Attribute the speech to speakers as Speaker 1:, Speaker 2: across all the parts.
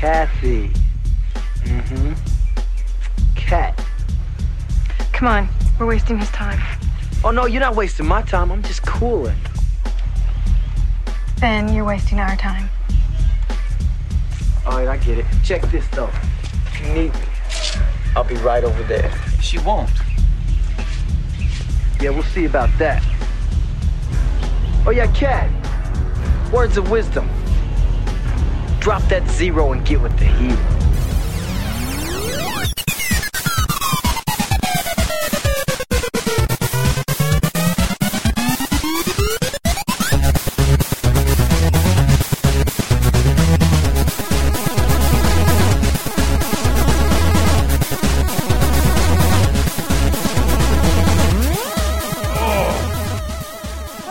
Speaker 1: Kathy. Mm-hmm. Cat.
Speaker 2: Come on, we're wasting his time.
Speaker 1: Oh no, you're not wasting my time. I'm just cooling.
Speaker 2: Ben, you're wasting our time.
Speaker 1: All right, I get it. Check this though. If you need me, I'll be right over there. She won't. Yeah, we'll see about that. Oh yeah, Cat. Words of wisdom. Drop that zero and get with the hero.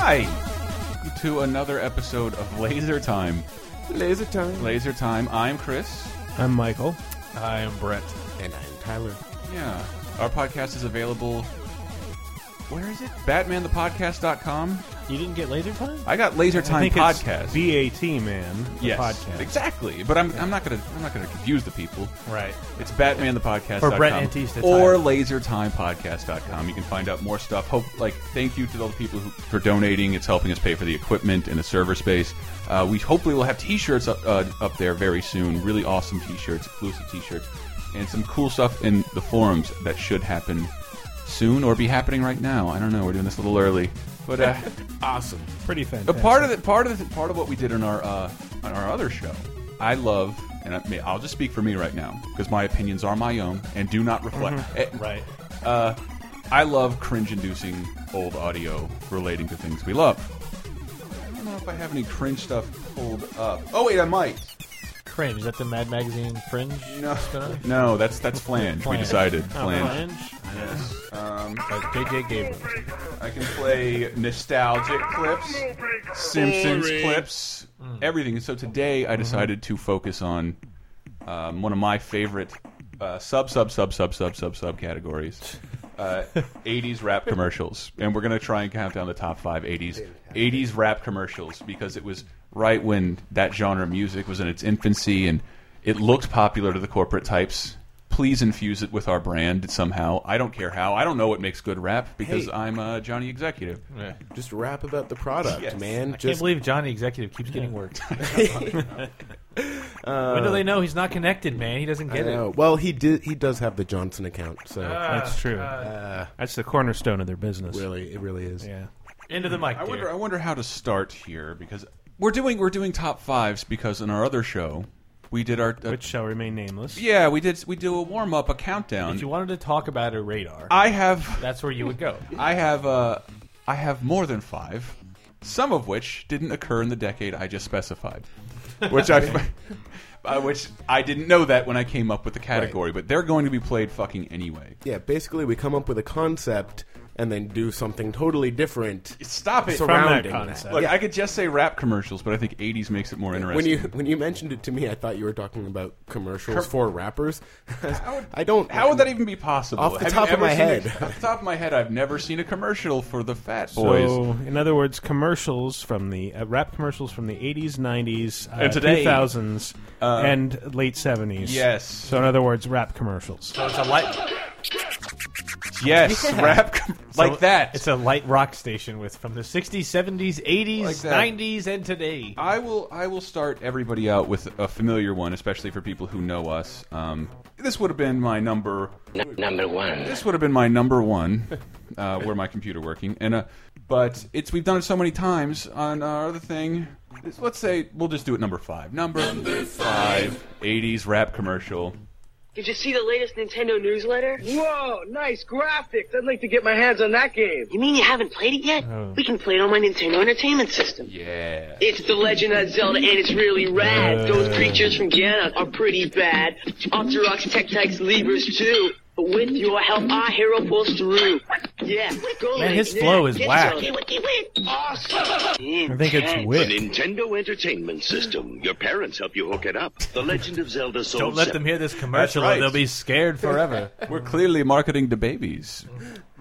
Speaker 3: Hi, to another episode of Laser Time.
Speaker 4: Laser time.
Speaker 3: Laser Time. I'm Chris.
Speaker 4: I'm Michael.
Speaker 5: I am Brett.
Speaker 6: And I'm Tyler.
Speaker 3: Yeah, our podcast is available. Where is it? BatmanThePodcast.com.
Speaker 5: You didn't get laser time?
Speaker 3: I got Laser
Speaker 4: I
Speaker 3: Time
Speaker 4: think
Speaker 3: podcast.
Speaker 4: It's BAT man. the
Speaker 3: yes,
Speaker 4: podcast.
Speaker 3: exactly. But I'm, I'm not gonna I'm not gonna confuse the people.
Speaker 5: Right.
Speaker 3: It's Batman the Podcast
Speaker 5: Or Brett Antista
Speaker 3: or
Speaker 5: Tyler.
Speaker 3: LaserTimePodcast.com. You can find out more stuff. Hope like thank you to all the people who, for donating. It's helping us pay for the equipment and the server space. Uh, we hopefully will have T-shirts up uh, up there very soon. Really awesome T-shirts, exclusive T-shirts, and some cool stuff in the forums that should happen soon or be happening right now. I don't know. We're doing this a little early, but. Uh,
Speaker 4: Awesome. Pretty fantastic.
Speaker 3: But part of the part of the part of what we did on our uh, on our other show, I love, and I, may- I'll just speak for me right now because my opinions are my own and do not reflect. eh,
Speaker 5: Mm-hmm. Right.
Speaker 3: Uh, I love cringe-inducing old audio relating to things we love. I don't know if I have any cringe stuff pulled up. Oh wait, I might.
Speaker 5: Cringe. Is that the Mad Magazine Fringe?
Speaker 3: No,
Speaker 5: spin-off?
Speaker 3: no, that's that's flange. We
Speaker 5: Flange.
Speaker 3: decided
Speaker 5: Oh,
Speaker 3: flange.
Speaker 5: Flange?
Speaker 3: Yes. Um,
Speaker 5: Like JJ Gabriel.
Speaker 3: I can play nostalgic clips, Simpsons clips, everything. So today I decided to focus on um, one of my favorite uh, sub sub sub sub sub sub sub categories, uh, '80s rap commercials, and we're gonna try and count down the top five '80s '80s rap commercials because it was right when that genre of music was in its infancy and it looked popular to the corporate types. Please infuse it with our brand somehow. I don't care how. I don't know what makes good rap because
Speaker 6: Hey.
Speaker 3: I'm a Johnny executive.
Speaker 5: Yeah.
Speaker 6: Just rap about the product,
Speaker 3: Yes.
Speaker 6: man.
Speaker 5: Can't
Speaker 6: Just
Speaker 5: believe Johnny Executive keeps getting work. when
Speaker 3: Um,
Speaker 5: do they know he's not connected, man? He doesn't
Speaker 6: I
Speaker 5: get it. Uh,
Speaker 6: know. Well, he did. He does have the Johnson account, so
Speaker 3: Ah.
Speaker 4: That's true.
Speaker 3: Uh,
Speaker 4: That's the cornerstone of their business.
Speaker 6: really, it really is.
Speaker 4: Yeah.
Speaker 5: Into the mic,
Speaker 3: I wonder.
Speaker 5: dear.
Speaker 3: I wonder how to start here because we're doing we're doing top fives because in our other show we did our uh,
Speaker 4: Which shall remain nameless.
Speaker 3: yeah we did we do a warm up a countdown.
Speaker 5: If you wanted to talk about a radar,
Speaker 3: I have
Speaker 5: that's where you would go.
Speaker 3: I have uh, I have more than five, some of which didn't occur in the decade I just specified, which I. Uh, which I didn't know that when I came up with the category, but they're going to be played fucking anyway.
Speaker 6: Yeah, basically, we come up with a concept and then do something totally different
Speaker 3: Stop it!
Speaker 4: that
Speaker 6: surrounding
Speaker 4: concept.
Speaker 3: Look, I could just say rap commercials, but I think '80s makes it more interesting.
Speaker 6: When you when you mentioned it to me, I thought you were talking about commercials
Speaker 3: Com-
Speaker 6: for rappers.
Speaker 3: would-
Speaker 6: I don't.
Speaker 3: How would that even be possible?
Speaker 6: Off the
Speaker 3: Have you
Speaker 6: top of
Speaker 3: ever
Speaker 6: my
Speaker 3: seen a-
Speaker 6: head.
Speaker 3: off the top of my head, I've never seen a commercial for the Fat Boys.
Speaker 4: So, in other words, commercials from the uh, rap commercials from the 80s, 90s, uh,
Speaker 3: And today. uh,
Speaker 4: 2000s, and late 70s.
Speaker 3: yes.
Speaker 4: So, in other words, rap commercials.
Speaker 5: So it's a light,
Speaker 3: yes, rap com- like that.
Speaker 5: It's a light rock station with from the '60s, '70s, '80s,
Speaker 3: Like that.
Speaker 5: '90s, and today.
Speaker 3: I will. I will start everybody out with a familiar one, especially for people who know us. Um, this would have been my number.
Speaker 7: number one.
Speaker 3: This would have been my number one. Uh, where my computer working, and uh, but it's we've done it so many times on our other thing. It's- Let's say we'll just do it number five. Number, number five, 80s rap commercial.
Speaker 8: Did you see the latest Nintendo newsletter?
Speaker 1: Whoa, nice graphics. I'd like to get my hands on that game.
Speaker 8: You mean you haven't played it yet?
Speaker 5: Oh.
Speaker 8: We can play it on my Nintendo Entertainment System.
Speaker 3: Yeah.
Speaker 8: It's The Legend of Zelda, and it's really
Speaker 5: Uh.
Speaker 8: rad. Those creatures from Ganon are pretty bad. Octoroks, Tektites, Levers too. But with your help, our hero pulls through. Yeah, go
Speaker 5: Man, his
Speaker 8: Link.
Speaker 5: flow
Speaker 8: Yeah,
Speaker 5: is
Speaker 8: get
Speaker 5: whack.
Speaker 8: Zelda.
Speaker 4: I think it's wit.
Speaker 9: Nintendo Entertainment System. Your parents help you hook it up. The Legend of Zelda Soul
Speaker 5: Don't let them hear this commercial;
Speaker 3: right.
Speaker 5: or they'll be scared forever.
Speaker 3: We're clearly marketing to babies.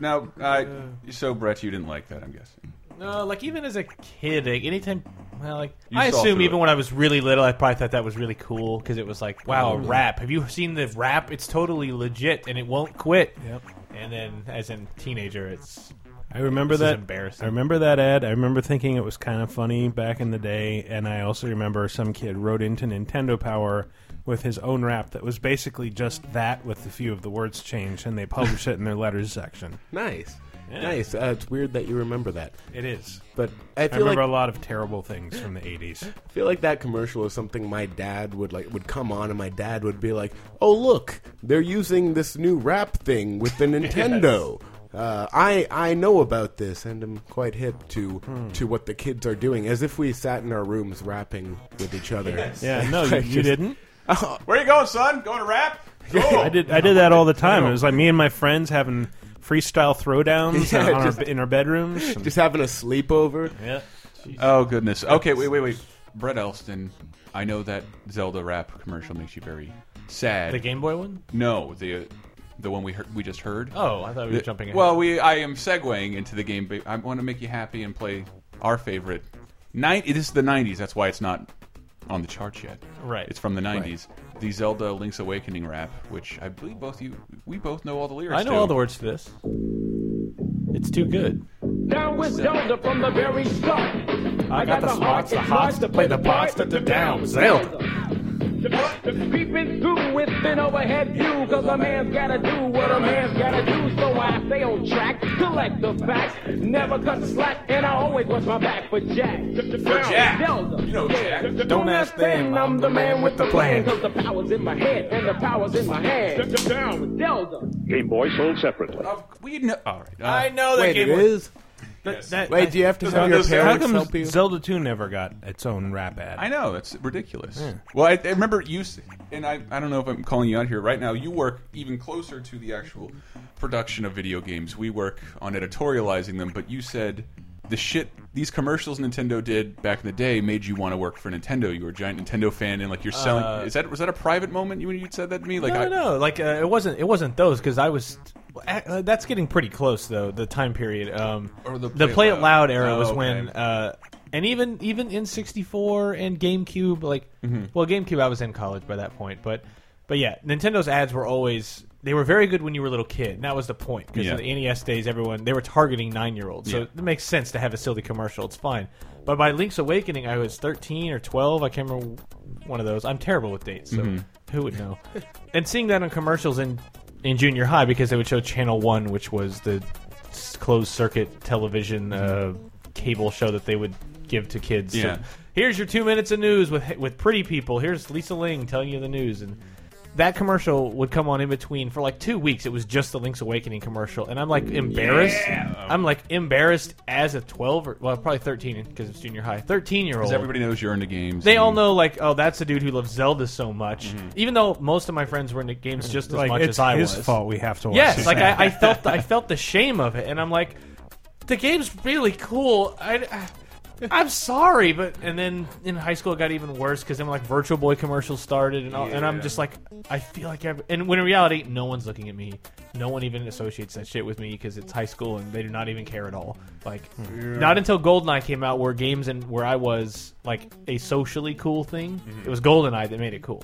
Speaker 3: Now, I, so Brett, you didn't like that, I'm guessing.
Speaker 5: No, Uh, like even as a kid, like, anytime. Well, like
Speaker 3: You
Speaker 5: I
Speaker 3: saw
Speaker 5: assume
Speaker 3: through
Speaker 5: even
Speaker 3: it.
Speaker 5: when I was really little, I probably thought that was really cool because it was like, wow,
Speaker 4: Oh,
Speaker 5: a rap. Have you seen the rap? It's totally legit and it won't quit. Yep. And then as a teenager, it's
Speaker 4: I remember
Speaker 5: This is
Speaker 4: that.
Speaker 5: embarrassing.
Speaker 4: I remember that ad. I remember thinking it was kind of funny back in the day, and I also remember some kid wrote into Nintendo Power with his own rap that was basically just that with a few of the words changed, and they published it in their letters section.
Speaker 6: Nice. Nice. Uh, it's weird that you remember that.
Speaker 4: It is.
Speaker 6: But I
Speaker 4: I
Speaker 6: feel
Speaker 4: remember
Speaker 6: like
Speaker 4: a lot of terrible things from the '80s.
Speaker 6: I feel like that commercial is something my dad would like would come on and my dad would be like, "Oh look, they're using this new rap thing with the Nintendo." Uh, I I know about this and am quite hip to
Speaker 5: Hmm.
Speaker 6: to what the kids are doing, as if we sat in our rooms rapping with each other.
Speaker 4: Yeah, no, you,
Speaker 6: I
Speaker 4: you
Speaker 6: just-
Speaker 4: didn't.
Speaker 3: Where you going, son? Going to rap? Cool.
Speaker 4: I did. I did that all the time. It was like me and my friends having freestyle throwdowns
Speaker 6: Yeah,
Speaker 4: on
Speaker 6: just-
Speaker 4: our, in our bedrooms. and-
Speaker 6: Just having a sleepover.
Speaker 5: yeah.
Speaker 3: Oh goodness. Okay, wait, wait, wait. Brett Elston. I know that Zelda rap commercial makes you very sad.
Speaker 5: The Game Boy one?
Speaker 3: No, the uh, the one we heard, we just heard.
Speaker 5: Oh, I thought we were
Speaker 3: The-
Speaker 5: jumping. Ahead.
Speaker 3: Well, we I am segueing into the game. But I want to make you happy and play our favorite. Nine. This is the '90s. That's why it's not on the charts yet.
Speaker 5: Right.
Speaker 3: It's from the '90s. The Zelda Link's Awakening rap, which I believe both you we both know all the lyrics.
Speaker 5: I know
Speaker 3: to.
Speaker 5: all the words to this. It's too good.
Speaker 7: Down with Zelda from the very start.
Speaker 5: I got the spots, the hots, to play the bots, to the down. Zelda.
Speaker 7: Creeping through with an overhead view, cause a man's gotta do what a man's gotta do. So I stay on track, collect the facts, never cut slack, and I always watch my back for Jack. For
Speaker 3: Jack.
Speaker 7: Zelda.
Speaker 3: You know Jack.
Speaker 5: Don't ask them,
Speaker 7: I'm the man with the plan, cause the power's in my head, and the power's in my hand. Down with Zelda.
Speaker 9: Game Boy sold separately.
Speaker 3: Uh, we know. All right. Uh,
Speaker 5: I know that
Speaker 6: Wait, it
Speaker 5: Game Boy.
Speaker 6: is.
Speaker 3: yes.
Speaker 6: Wait, do you have to have your
Speaker 3: Does- how
Speaker 6: parents
Speaker 4: How
Speaker 6: help you?
Speaker 4: come Zelda 2 never got its own rap ad?
Speaker 3: I know it's ridiculous. Well, I, I remember you, s- and I, I don't know if I'm calling you out here right now. You work even closer to the actual production of video games. We work on editorializing them, but you said the shit these commercials Nintendo did back in the day made you want to work for Nintendo. You were a giant Nintendo fan, and like you're selling. is that was that a private moment you when you said that to me? Like
Speaker 5: Uh, No,
Speaker 3: I,
Speaker 5: no, no. Like uh, it wasn't. It wasn't those because I was. well, ac- Uh, that's getting pretty close though. The time period. Um,
Speaker 3: Or the
Speaker 5: the
Speaker 3: Play It
Speaker 5: play it
Speaker 3: Loud.
Speaker 5: loud era
Speaker 3: Oh,
Speaker 5: was
Speaker 3: okay.
Speaker 5: when, uh, and even even in '64 and GameCube. Like,
Speaker 3: Mm-hmm.
Speaker 5: well, GameCube I was in college by that point, but but yeah, Nintendo's ads were always. They were very good when you were a little kid. And that was the point because
Speaker 3: Yeah.
Speaker 5: in the NES E days, everyone they were targeting nine-year-olds. So
Speaker 3: Yeah.
Speaker 5: it makes sense to have a silly commercial. It's fine. But by Link's Awakening, I was 13 or 12. I can't remember one of those. I'm terrible with dates, so
Speaker 3: Mm-hmm.
Speaker 5: who would know? and seeing that on commercials in in junior high because they would show Channel One, which was the s- closed circuit television uh, cable show that they would give to kids. So,
Speaker 3: Mm-hmm. Yeah.
Speaker 5: Here's your two minutes of news with with pretty people. Here's Lisa Ling telling you the news and that commercial would come on in between for like two weeks. It was just the Link's Awakening commercial, and I'm like embarrassed. I'm like embarrassed as a 12 or well, probably 13 because it's junior high. 13 year old.
Speaker 3: 'cause everybody Mm-hmm. knows you're into games.
Speaker 5: They
Speaker 3: and-
Speaker 5: all know like, oh, that's the dude who loves Zelda so much.
Speaker 3: Mm-hmm.
Speaker 5: Even though most of my friends were into games just as
Speaker 4: like,
Speaker 5: much
Speaker 4: it's
Speaker 5: as I
Speaker 4: his
Speaker 5: was.
Speaker 4: fault we have to watch
Speaker 5: Yes,
Speaker 4: this
Speaker 5: like
Speaker 4: now.
Speaker 5: I, I felt the, I felt the shame of it, and I'm like, the game's really cool. I, I am sorry, but and then in high school it got even worse because then like Virtual Boy commercials started, and all, and I'm just like, I feel like I've, and when in reality no one's looking at me, no one even associates that shit with me because it's high school and they do not even care at all. Like, not until Goldeneye came out where games and where I was like a socially cool thing. It was Goldeneye that made it cool.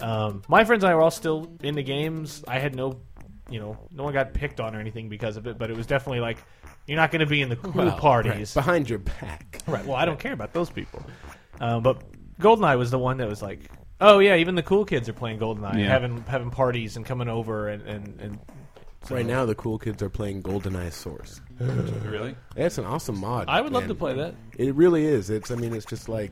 Speaker 5: Um, my friends and I were all still into games. I had no you know, no one got picked on or anything because of it, but it was definitely like, you're not going to be in the cool parties. Right.
Speaker 6: Behind your back.
Speaker 5: Well, I don't care about those people. Um, but Goldeneye was the one that was like, oh yeah, even the cool kids are playing Goldeneye,
Speaker 3: Yeah.
Speaker 5: having having parties and coming over and and, and
Speaker 6: Right now, the cool kids are playing GoldenEye Source.
Speaker 3: really.
Speaker 6: That's an awesome mod.
Speaker 5: I would love
Speaker 6: man.
Speaker 5: to play that.
Speaker 6: It really is. It's. I mean, it's just like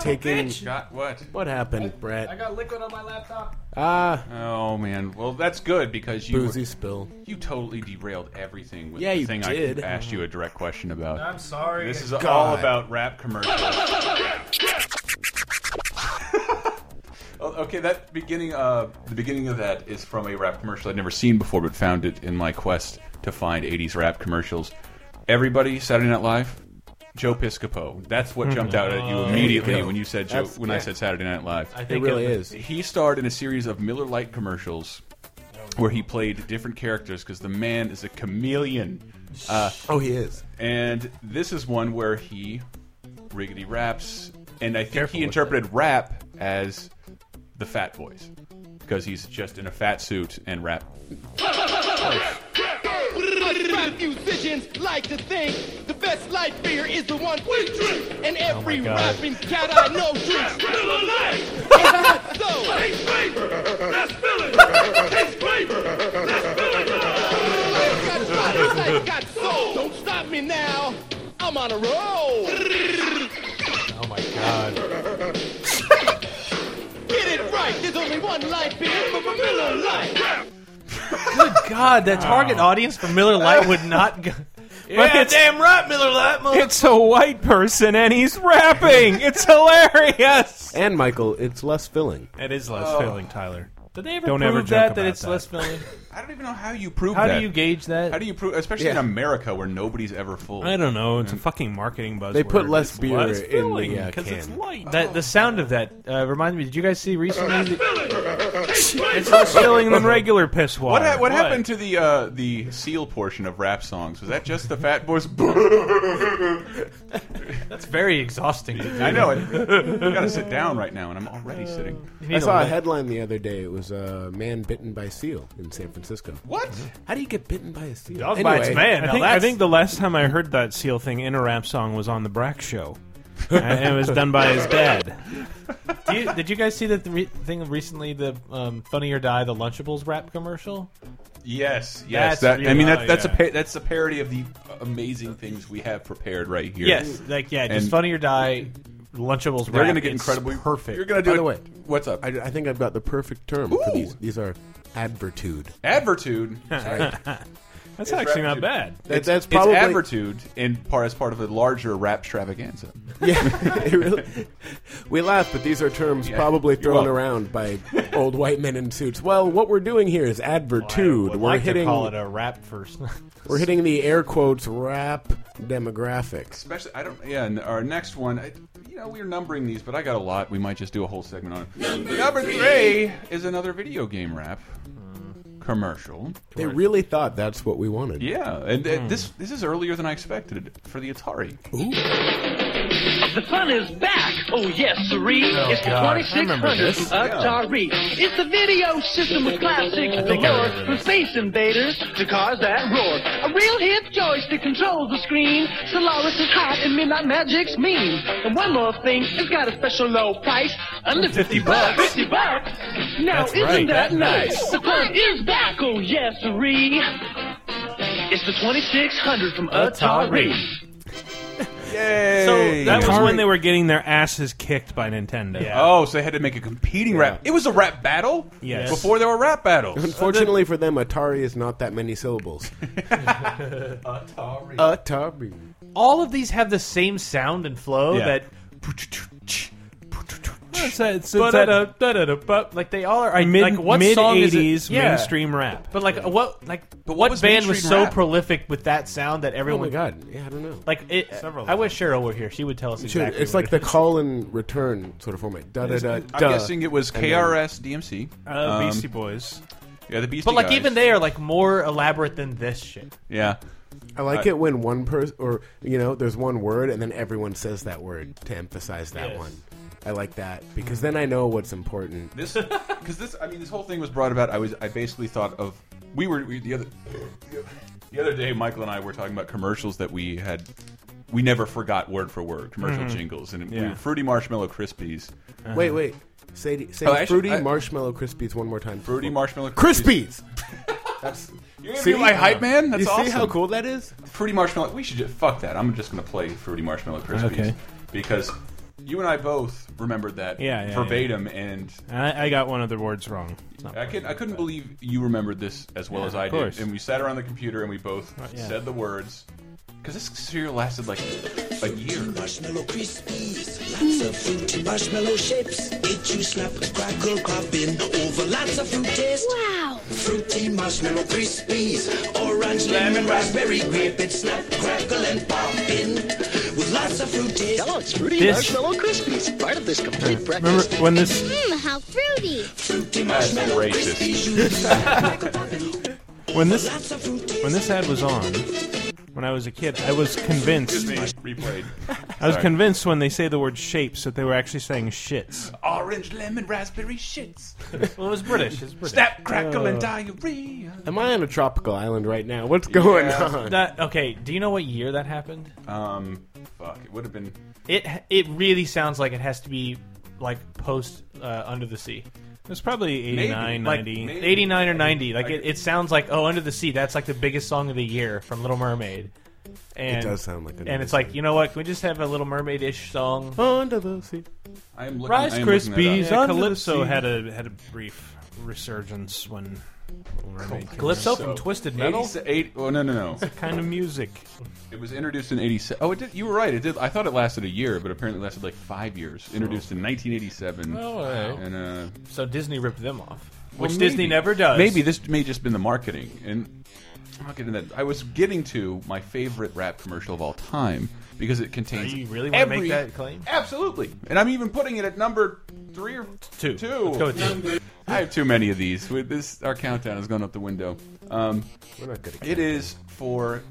Speaker 6: taking.
Speaker 3: Got what?
Speaker 6: What happened, Brett?
Speaker 5: got liquid on my laptop.
Speaker 6: Ah,
Speaker 3: Oh man. Well, that's good because you
Speaker 6: boozy spill.
Speaker 3: you totally derailed everything with
Speaker 6: Yeah,
Speaker 3: the
Speaker 6: you
Speaker 3: thing
Speaker 6: did.
Speaker 3: I asked you a direct question about.
Speaker 5: sorry.
Speaker 3: This is all about rap commercials. Oh, okay, that beginning, uh, the beginning of that is from a rap commercial I'd never seen before, but found it in my quest to find '80s rap commercials. Everybody, Saturday Night Live, Joe Piscopo. That's what jumped out at you immediately when you said Joe,
Speaker 6: That's-
Speaker 3: when Oh, I said Saturday Night Live.
Speaker 5: I
Speaker 6: It
Speaker 5: think
Speaker 6: really
Speaker 5: of-
Speaker 6: is.
Speaker 3: He starred in a series of Miller Lite commercials where he played different characters because the man is a chameleon.
Speaker 6: Oh, he is.
Speaker 3: And this is one where he riggedy raps, and I think he interpreted rap as the fat voice because he's just in a fat suit and rap.
Speaker 7: Us musicians like to think the best light beer is the one we drink, and every
Speaker 5: God.
Speaker 7: rapping cat I know drinks Miller Lite. It's not so. Taste flavor. That's Miller. Taste flavor. That's Miller. I got body, I got soul. Don't stop me now. I'm on a roll.
Speaker 5: Oh my god.
Speaker 7: Get it right. There's only one light beer for Miller Lite.
Speaker 5: Good god, that target audience for Miller Lite would not go. Yeah,
Speaker 4: it's-
Speaker 5: damn right, Miller Lite. mother-
Speaker 4: It's a white person and he's rapping. It's hilarious.
Speaker 6: And Michael, it's less filling.
Speaker 4: It is less filling,
Speaker 5: Oh.
Speaker 4: Tyler.
Speaker 5: Did they ever
Speaker 4: Don't
Speaker 5: prove
Speaker 4: ever joke
Speaker 5: that that
Speaker 4: about
Speaker 5: it's
Speaker 4: that.
Speaker 5: less filling?
Speaker 3: I don't even know how you prove
Speaker 5: How
Speaker 3: that.
Speaker 5: do you gauge that?
Speaker 3: How do you prove, especially in
Speaker 6: Yeah.
Speaker 3: America where nobody's ever full?
Speaker 4: I don't know. It's a fucking marketing buzzword.
Speaker 6: They put less
Speaker 4: It's
Speaker 6: beer
Speaker 4: less
Speaker 6: in
Speaker 4: filling
Speaker 6: the, uh,
Speaker 4: it's
Speaker 6: can.
Speaker 4: light.
Speaker 5: that the sound of that uh, reminded me. Did you guys see recently? the-
Speaker 4: It's less filling than regular piss water.
Speaker 3: What, ha- what happened to the uh, the seal portion of rap songs? Was that just the Fat Boys?
Speaker 5: That's very exhausting. To do.
Speaker 3: I know it. I gotta sit down right now, and I'm already sitting.
Speaker 5: You need
Speaker 6: I
Speaker 5: a
Speaker 6: saw a
Speaker 5: lick.
Speaker 6: headline the other day. It was a man bitten by a seal in San Francisco.
Speaker 3: What?
Speaker 6: How do you get bitten by a seal?
Speaker 5: Dog bites man.
Speaker 4: I
Speaker 5: Now
Speaker 4: think, I
Speaker 5: that's-
Speaker 4: think the last time I heard that seal thing in a rap song was on the Brack Show, and it was done by his dad.
Speaker 5: Do you- did you guys see that re- thing recently? The um, Funny or Die, the Lunchables wrap commercial.
Speaker 3: Yes, yes.
Speaker 5: That's
Speaker 3: That, I
Speaker 5: real-
Speaker 3: mean, that's
Speaker 5: oh,
Speaker 3: that's
Speaker 5: yeah.
Speaker 3: a pa that's a parody of the amazing things we have prepared right here.
Speaker 5: Yes, like yeah, just
Speaker 3: And-
Speaker 5: Funny or Die, Lunchables.
Speaker 3: they're
Speaker 5: wrap.
Speaker 3: gonna get
Speaker 5: It's
Speaker 3: incredibly
Speaker 5: perfect.
Speaker 3: You're gonna do
Speaker 6: By
Speaker 3: it.
Speaker 6: the way,
Speaker 3: What's up?
Speaker 6: I, I think I've got the perfect term
Speaker 3: Ooh.
Speaker 6: for these. These are advertude.
Speaker 3: Advertude. Sorry.
Speaker 4: That's actually not bad.
Speaker 6: That, that's
Speaker 3: It's
Speaker 6: probably
Speaker 3: advertude in part as part of a larger rap extravaganza.
Speaker 6: Yeah, it really- we laugh, but these are terms
Speaker 3: Yeah.
Speaker 6: probably
Speaker 3: You're
Speaker 6: thrown
Speaker 3: welcome.
Speaker 6: around by old white men in suits. Well, what we're doing here is advertude.
Speaker 5: Would
Speaker 6: we're
Speaker 5: like
Speaker 6: hitting
Speaker 5: to call it a wrap first.
Speaker 6: we're hitting the air quotes rap demographics.
Speaker 3: Especially, I don't. Yeah, and our next one. I, you know, we're numbering these, but I got a lot. We might just do a whole segment on it. Number, three is another video game rap commercial.
Speaker 5: Mm.
Speaker 6: They really thought that's what we wanted.
Speaker 3: Yeah, and
Speaker 5: Hmm.
Speaker 3: uh, this this is earlier than I expected for the Atari.
Speaker 8: The fun is back. Oh yes, siree. it's the
Speaker 5: God, I remember
Speaker 8: 2600
Speaker 5: this.
Speaker 8: Atari. It's the video system with classics
Speaker 5: think I
Speaker 8: galore,
Speaker 5: remember
Speaker 8: from
Speaker 5: this.
Speaker 8: Space Invaders to cars that roar. A real hip joystick controls the screen. Solaris is hot and Midnight Magic's mean. And one more thing, it's got a special low price, under 50 bucks. 50 bucks. Now
Speaker 5: That's
Speaker 8: isn't
Speaker 5: right,
Speaker 8: that
Speaker 5: that
Speaker 8: nice?
Speaker 5: nice.
Speaker 8: The fun is back. Oh yes, siree. It's the 2600 from Atari.
Speaker 3: Yay!
Speaker 4: So that was
Speaker 6: Atari-
Speaker 4: when they were getting their asses kicked by Nintendo.
Speaker 5: Yeah.
Speaker 3: Oh, so they had to make a competing rap. It was a rap battle.
Speaker 4: Yes.
Speaker 3: Before there were rap battles.
Speaker 6: Unfortunately for them, Atari is not that many syllables.
Speaker 3: Atari.
Speaker 6: Atari. Oh
Speaker 5: All of these have the same sound and flow
Speaker 3: Yeah.
Speaker 5: that.
Speaker 4: It's, a- it's, it's that
Speaker 5: Ba-da-da, da-da-da, ba- uh, Like they all are. I,
Speaker 4: mid
Speaker 5: like what
Speaker 4: mid
Speaker 5: song is it-
Speaker 4: eighties
Speaker 5: Yeah.
Speaker 4: mainstream rap.
Speaker 5: But like what like
Speaker 3: But what
Speaker 5: what,
Speaker 3: was
Speaker 5: band was
Speaker 3: mainstream
Speaker 5: so
Speaker 3: rap?
Speaker 5: prolific with that sound that
Speaker 6: Oh
Speaker 5: everyone
Speaker 6: my god. Yeah, I don't know.
Speaker 5: like it?
Speaker 4: Several
Speaker 5: I wish Cheryl were here. She would tell us
Speaker 6: Should-
Speaker 5: exactly.
Speaker 6: it's
Speaker 5: what
Speaker 6: like
Speaker 5: it
Speaker 6: the call and return sort of format. Da da da.
Speaker 3: I'm
Speaker 6: da.
Speaker 3: guessing it was KRS DMC.
Speaker 4: Uh,
Speaker 3: Um,
Speaker 4: Beastie Boys.
Speaker 3: Yeah, the Beastie
Speaker 5: But like
Speaker 3: Guys.
Speaker 5: even they are like more elaborate than this shit.
Speaker 3: Yeah.
Speaker 6: I like it when one person, or you know, there's one word and then everyone says that word to emphasize that
Speaker 5: Yes.
Speaker 6: one. I like that because then I know what's important.
Speaker 3: This because this I mean this whole thing was brought about. I was I basically thought of we were we, the other the other day Michael and I were talking about commercials that we had we never forgot word for word commercial jingles and we
Speaker 4: Yeah.
Speaker 3: were fruity marshmallow crispies
Speaker 6: Wait, wait. Say, say
Speaker 3: Uh-huh. Oh, actually,
Speaker 6: fruity
Speaker 3: I-
Speaker 6: marshmallow crispies one more time.
Speaker 3: fruity marshmallow
Speaker 6: crispies.
Speaker 3: You're gonna
Speaker 6: See? uh,
Speaker 3: be my hype man. That's
Speaker 6: you
Speaker 3: awesome.
Speaker 6: see how cool that is?
Speaker 3: Fruity Marshmallow. We should just fuck that. I'm just gonna play Fruity Marshmallow Krispies
Speaker 4: Okay.
Speaker 3: because you and I both remembered that
Speaker 4: Yeah, yeah,
Speaker 3: verbatim, and
Speaker 4: I, I got one of the words wrong.
Speaker 3: I could I couldn't believe you remembered this as well as I did.
Speaker 4: course.
Speaker 3: And we sat around the computer and we both
Speaker 4: yeah.
Speaker 3: said the words. Because this cereal lasted like a year. Like,
Speaker 10: Marshmallow crispies, lots of fruit, marshmallow shapes. Eat you slap, crackle, popping over lots of fruit taste. Wow! Fruity marshmallow crispies, orange, lemon, raspberry, grape. It's snap, crackle, and popping with lots of fruit taste.
Speaker 11: Kellogg's Fruity
Speaker 5: This-
Speaker 11: Marshmallow Krispies, part of this complete
Speaker 4: Remember
Speaker 11: breakfast.
Speaker 4: when this
Speaker 12: Mmm, how fruity.
Speaker 10: Fruity
Speaker 3: That's
Speaker 10: marshmallow
Speaker 3: racist.
Speaker 10: crispies, you eat crackle, popping.
Speaker 4: when this
Speaker 10: Lots of fruit taste.
Speaker 4: when this ad was on when I was a kid, I was convinced.
Speaker 3: excuse me, replayed.
Speaker 4: I was
Speaker 3: Sorry.
Speaker 4: convinced when they say the word shapes that they were actually saying shits.
Speaker 3: Orange, lemon, raspberry shits.
Speaker 5: Well, it was British. It was British.
Speaker 3: Snap, crackle, and
Speaker 4: Uh.
Speaker 3: diarrhea.
Speaker 6: Am I on a tropical island right now? What's going on?
Speaker 5: That- okay, do you know what year that happened?
Speaker 3: Um, fuck. It would have been.
Speaker 5: It it really sounds like it has to be like post uh, Under the Sea,
Speaker 4: It was probably 89,
Speaker 3: Maybe. Like,
Speaker 4: 90.
Speaker 3: maybe.
Speaker 5: eighty nine or ninety. Like
Speaker 3: I-
Speaker 5: it, it sounds like oh Under the Sea. That's like the biggest song of the year from Little Mermaid. And,
Speaker 6: does sound like Under
Speaker 5: and
Speaker 6: the
Speaker 5: it's like you know what? Can we just have a Little Mermaid ish song?
Speaker 6: Under the sea.
Speaker 3: I am looking.
Speaker 5: Rice
Speaker 3: I am looking that
Speaker 5: Krispies
Speaker 3: up.
Speaker 4: Yeah,
Speaker 5: Under the
Speaker 4: Calypso
Speaker 5: sea.
Speaker 4: had a had a brief resurgence when Mermaid came
Speaker 5: Calypso
Speaker 3: So,
Speaker 5: from Twisted Metal.
Speaker 3: 80 Eight, oh no no no!
Speaker 4: out. kind of music.
Speaker 3: It was introduced in '87. Oh, it did. You were right. It did. I thought it lasted a year, but apparently it lasted like five years. Introduced in 1987.
Speaker 5: Oh, all right.
Speaker 3: And uh,
Speaker 5: So Disney ripped them off,
Speaker 3: Well,
Speaker 5: which Disney
Speaker 3: maybe.
Speaker 5: never does.
Speaker 3: Maybe this may just been the marketing, and I'll get into that. I was getting to my favorite rap commercial of all time because it contains.
Speaker 5: Do you really wanna make
Speaker 3: every-
Speaker 5: that claim?
Speaker 3: Absolutely, and I'm even putting it at number three or
Speaker 5: Two.
Speaker 3: Two.
Speaker 5: Let's go with two.
Speaker 3: I have too many of these. With this, our countdown has gone up the window. Um,
Speaker 6: We're not good at
Speaker 3: it is for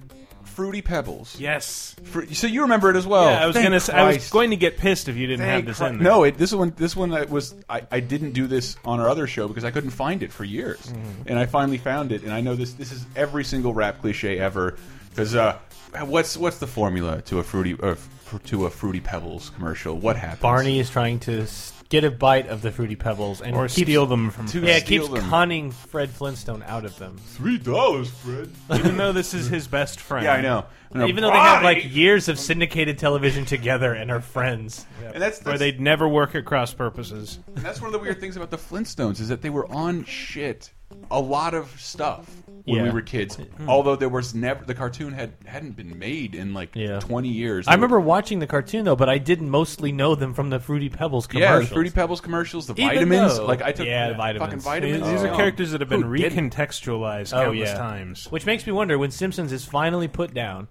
Speaker 3: fruity pebbles.
Speaker 4: Yes.
Speaker 3: Fru- so you remember it as well.
Speaker 4: Yeah, I was
Speaker 3: Oh, Thank
Speaker 4: gonna. Say, I was
Speaker 3: Christ.
Speaker 4: going to get pissed if you didn't have
Speaker 3: Thank
Speaker 4: this
Speaker 3: Christ.
Speaker 4: in there.
Speaker 3: No, it, this one. This one I was. I, I didn't do this on our other show because I couldn't find it for years,
Speaker 4: Mm-hmm.
Speaker 3: and I finally found it. And I know this. This is every single rap cliche ever. Because uh, what's what's the formula to a fruity uh, f- to a fruity pebbles commercial? What happens?
Speaker 5: Barney is trying to s- get a bite of the fruity pebbles and
Speaker 4: or
Speaker 5: keeps-
Speaker 4: steal them from.
Speaker 3: To
Speaker 5: Yeah, it
Speaker 3: steal
Speaker 5: keeps
Speaker 3: them.
Speaker 5: conning Fred Flintstone out of them.
Speaker 3: three dollars, Fred.
Speaker 4: even though this is his best friend.
Speaker 3: yeah, I know. No,
Speaker 5: Even though they have
Speaker 3: Barney!
Speaker 5: like years of syndicated television together and are friends.
Speaker 3: and that's,
Speaker 4: Where
Speaker 3: that's
Speaker 4: they'd never work at cross purposes.
Speaker 3: And that's one of the weird things about the Flintstones is that they were on shit a lot of stuff when we
Speaker 5: Yeah.
Speaker 3: were kids. Although there was never the cartoon had hadn't been made in like
Speaker 5: Yeah.
Speaker 3: twenty years.
Speaker 5: I remember watching the cartoon though, but I didn't mostly know them from the Fruity Pebbles
Speaker 3: yeah, the
Speaker 5: commercials.
Speaker 3: Fruity Pebbles commercials, the
Speaker 5: Even
Speaker 3: vitamins.
Speaker 5: though-
Speaker 3: like I took
Speaker 5: Yeah, the
Speaker 3: fucking
Speaker 5: vitamins.
Speaker 4: These,
Speaker 3: vitamins.
Speaker 4: these are
Speaker 3: Oh.
Speaker 4: characters that have been
Speaker 3: Who didn't?
Speaker 4: recontextualized
Speaker 5: Oh,
Speaker 4: countless
Speaker 5: yeah.
Speaker 4: times.
Speaker 5: Which makes me wonder when Simpsons is finally put down,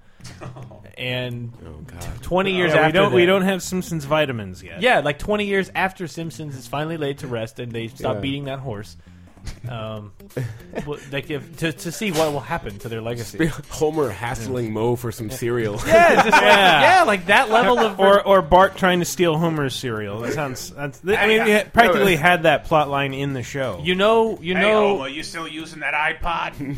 Speaker 5: and twenty years
Speaker 4: Yeah,
Speaker 5: after
Speaker 4: we don't
Speaker 5: that-
Speaker 4: we don't have Simpsons vitamins yet.
Speaker 5: Yeah, like twenty years after Simpsons is finally laid to rest and they stop
Speaker 6: Yeah.
Speaker 5: beating that horse. Um, well, like if, to to see what will happen to their legacy.
Speaker 6: Homer hassling Moe for some cereal.
Speaker 5: Yeah, just like, yeah. like that level of
Speaker 4: Or, or Bart trying to steal Homer's cereal. That sounds. That's, I mean, they had- practically had that plot line in the show.
Speaker 5: you know, you know.
Speaker 3: you still using that iPod?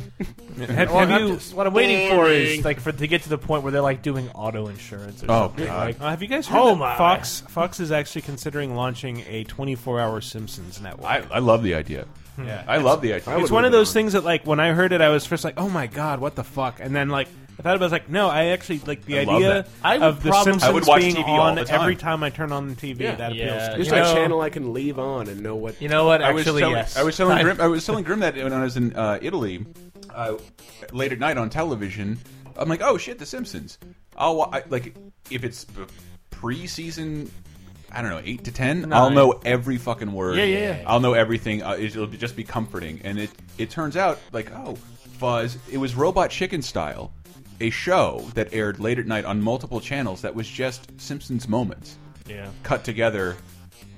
Speaker 4: have,
Speaker 5: Well,
Speaker 4: have
Speaker 5: I'm
Speaker 4: you?
Speaker 5: just- what I'm waiting for is like for to get to the point where they're like doing auto insurance. Or
Speaker 3: Oh,
Speaker 5: something.
Speaker 3: God.
Speaker 5: Like,
Speaker 4: uh, have you guys heard
Speaker 5: Oh
Speaker 4: that
Speaker 5: my.
Speaker 4: Fox Fox is actually considering launching a 24-hour Simpsons network?
Speaker 3: I, I love the idea.
Speaker 4: yeah.
Speaker 3: I love the idea.
Speaker 4: it's one of those things that like when I heard it, I was first like, "Oh my god, what the fuck?" And then like I thought about, it, I was like, "No, I actually like the
Speaker 3: I love
Speaker 4: idea
Speaker 3: that.
Speaker 5: I would
Speaker 4: of the
Speaker 5: probably-
Speaker 4: Simpsons
Speaker 3: I would watch
Speaker 4: being
Speaker 3: TV all
Speaker 4: on
Speaker 3: the time.
Speaker 4: every time I turn on the TV." That appeals
Speaker 5: Yeah.
Speaker 4: to me. Oh.
Speaker 6: There's
Speaker 5: You
Speaker 6: a
Speaker 5: know-
Speaker 6: channel I can leave on and know what.
Speaker 5: you know what?
Speaker 3: I was
Speaker 5: Actually,
Speaker 3: telling,
Speaker 5: yes.
Speaker 3: I was telling Grim. I was telling Grim that when I was in uh, Italy, uh, late at night on television. I'm like, oh shit, The Simpsons. I'll wa- I, like if it's b- pre-season. I don't know, eight to ten. I'll know every fucking word.
Speaker 5: Yeah, yeah, yeah.
Speaker 3: I'll know everything. Uh, it- it'll be- just be comforting. And it it turns out like, oh, fuzz. It was Robot Chicken style, a show that aired late at night on multiple channels. That was just Simpsons moments
Speaker 5: yeah.
Speaker 3: cut together,